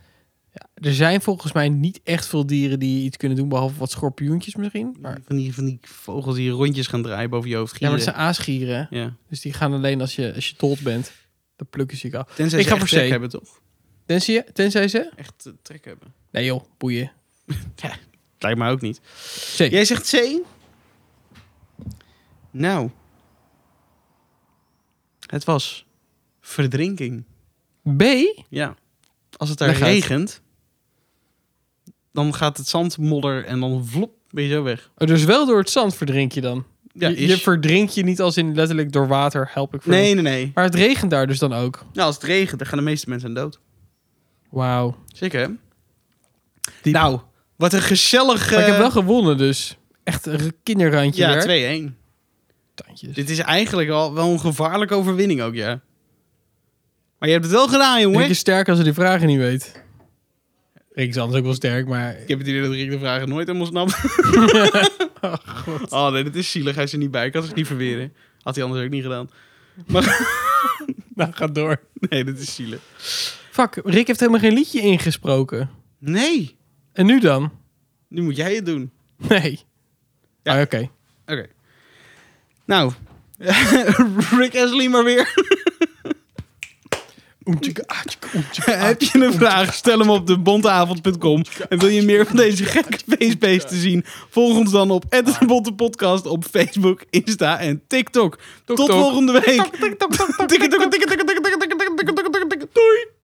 Ja, er zijn volgens mij niet echt veel dieren die iets kunnen doen, behalve wat schorpioentjes misschien. Maar,
Van die, van die vogels die rondjes gaan draaien boven je hoofd.
ja, maar
Gieren.
het zijn aasgieren. hè?
Ja.
Dus die gaan alleen als je, als je dood bent. Dan plukken ze je af.
Tenzij
Ik
ze
ga
echt
voor C.
trek hebben, toch?
Tenzij, tenzij ze...
Echt eh, trek hebben.
Nee joh, boeien.
Lijkt me ook niet.
C.
Jij zegt C? Nou. Het was verdrinking.
B?
Ja. Als het daar
Leg uit.
regent, dan gaat het zand modder en dan vlop ben je zo weg.
Oh, dus wel door het zand verdrink je dan.
Ja,
je,
is-
je verdrinkt je niet als in letterlijk door water help ik verdrink.
Nee, nee, nee.
Maar het regent daar dus dan ook.
Nou, als het regent, dan gaan de meeste mensen aan dood.
Wauw.
Zeker, hè?
Diep.
Nou, wat een gezellige...
Maar ik heb wel gewonnen dus. Echt een kinderrandje
Ja, 2-1.
weer. Tandjes.
Dit is eigenlijk al wel een gevaarlijke overwinning ook, ja. Maar je hebt het wel gedaan, jongen.
Rick is sterk als hij die vragen niet weet. Rick is anders ook wel sterk, maar...
Ik heb het idee dat Rick de vragen nooit helemaal snapt. oh, nee, dit is zielig. Hij is er niet bij. Ik had het niet verweren. Had hij anders ook niet gedaan. Maar
Nou, ga door.
nee, dit is zielig.
Fuck, Rick heeft helemaal geen liedje ingesproken.
Nee,
En nu dan?
nu moet jij het doen.
Nee.
Ja.
Ah, Oké.
Oké. Nou, Rick Ashley maar weer.
Oemtjeke, aatjeke, oemtjeke,
Heb je een vraag? Stel hem op de bonteavond.com. En wil je meer van deze gekke feestbeesten te zien? Volg ons dan op de Bonte Podcast op Facebook, Insta en TikTok. Tot
tok.
volgende week. Doei.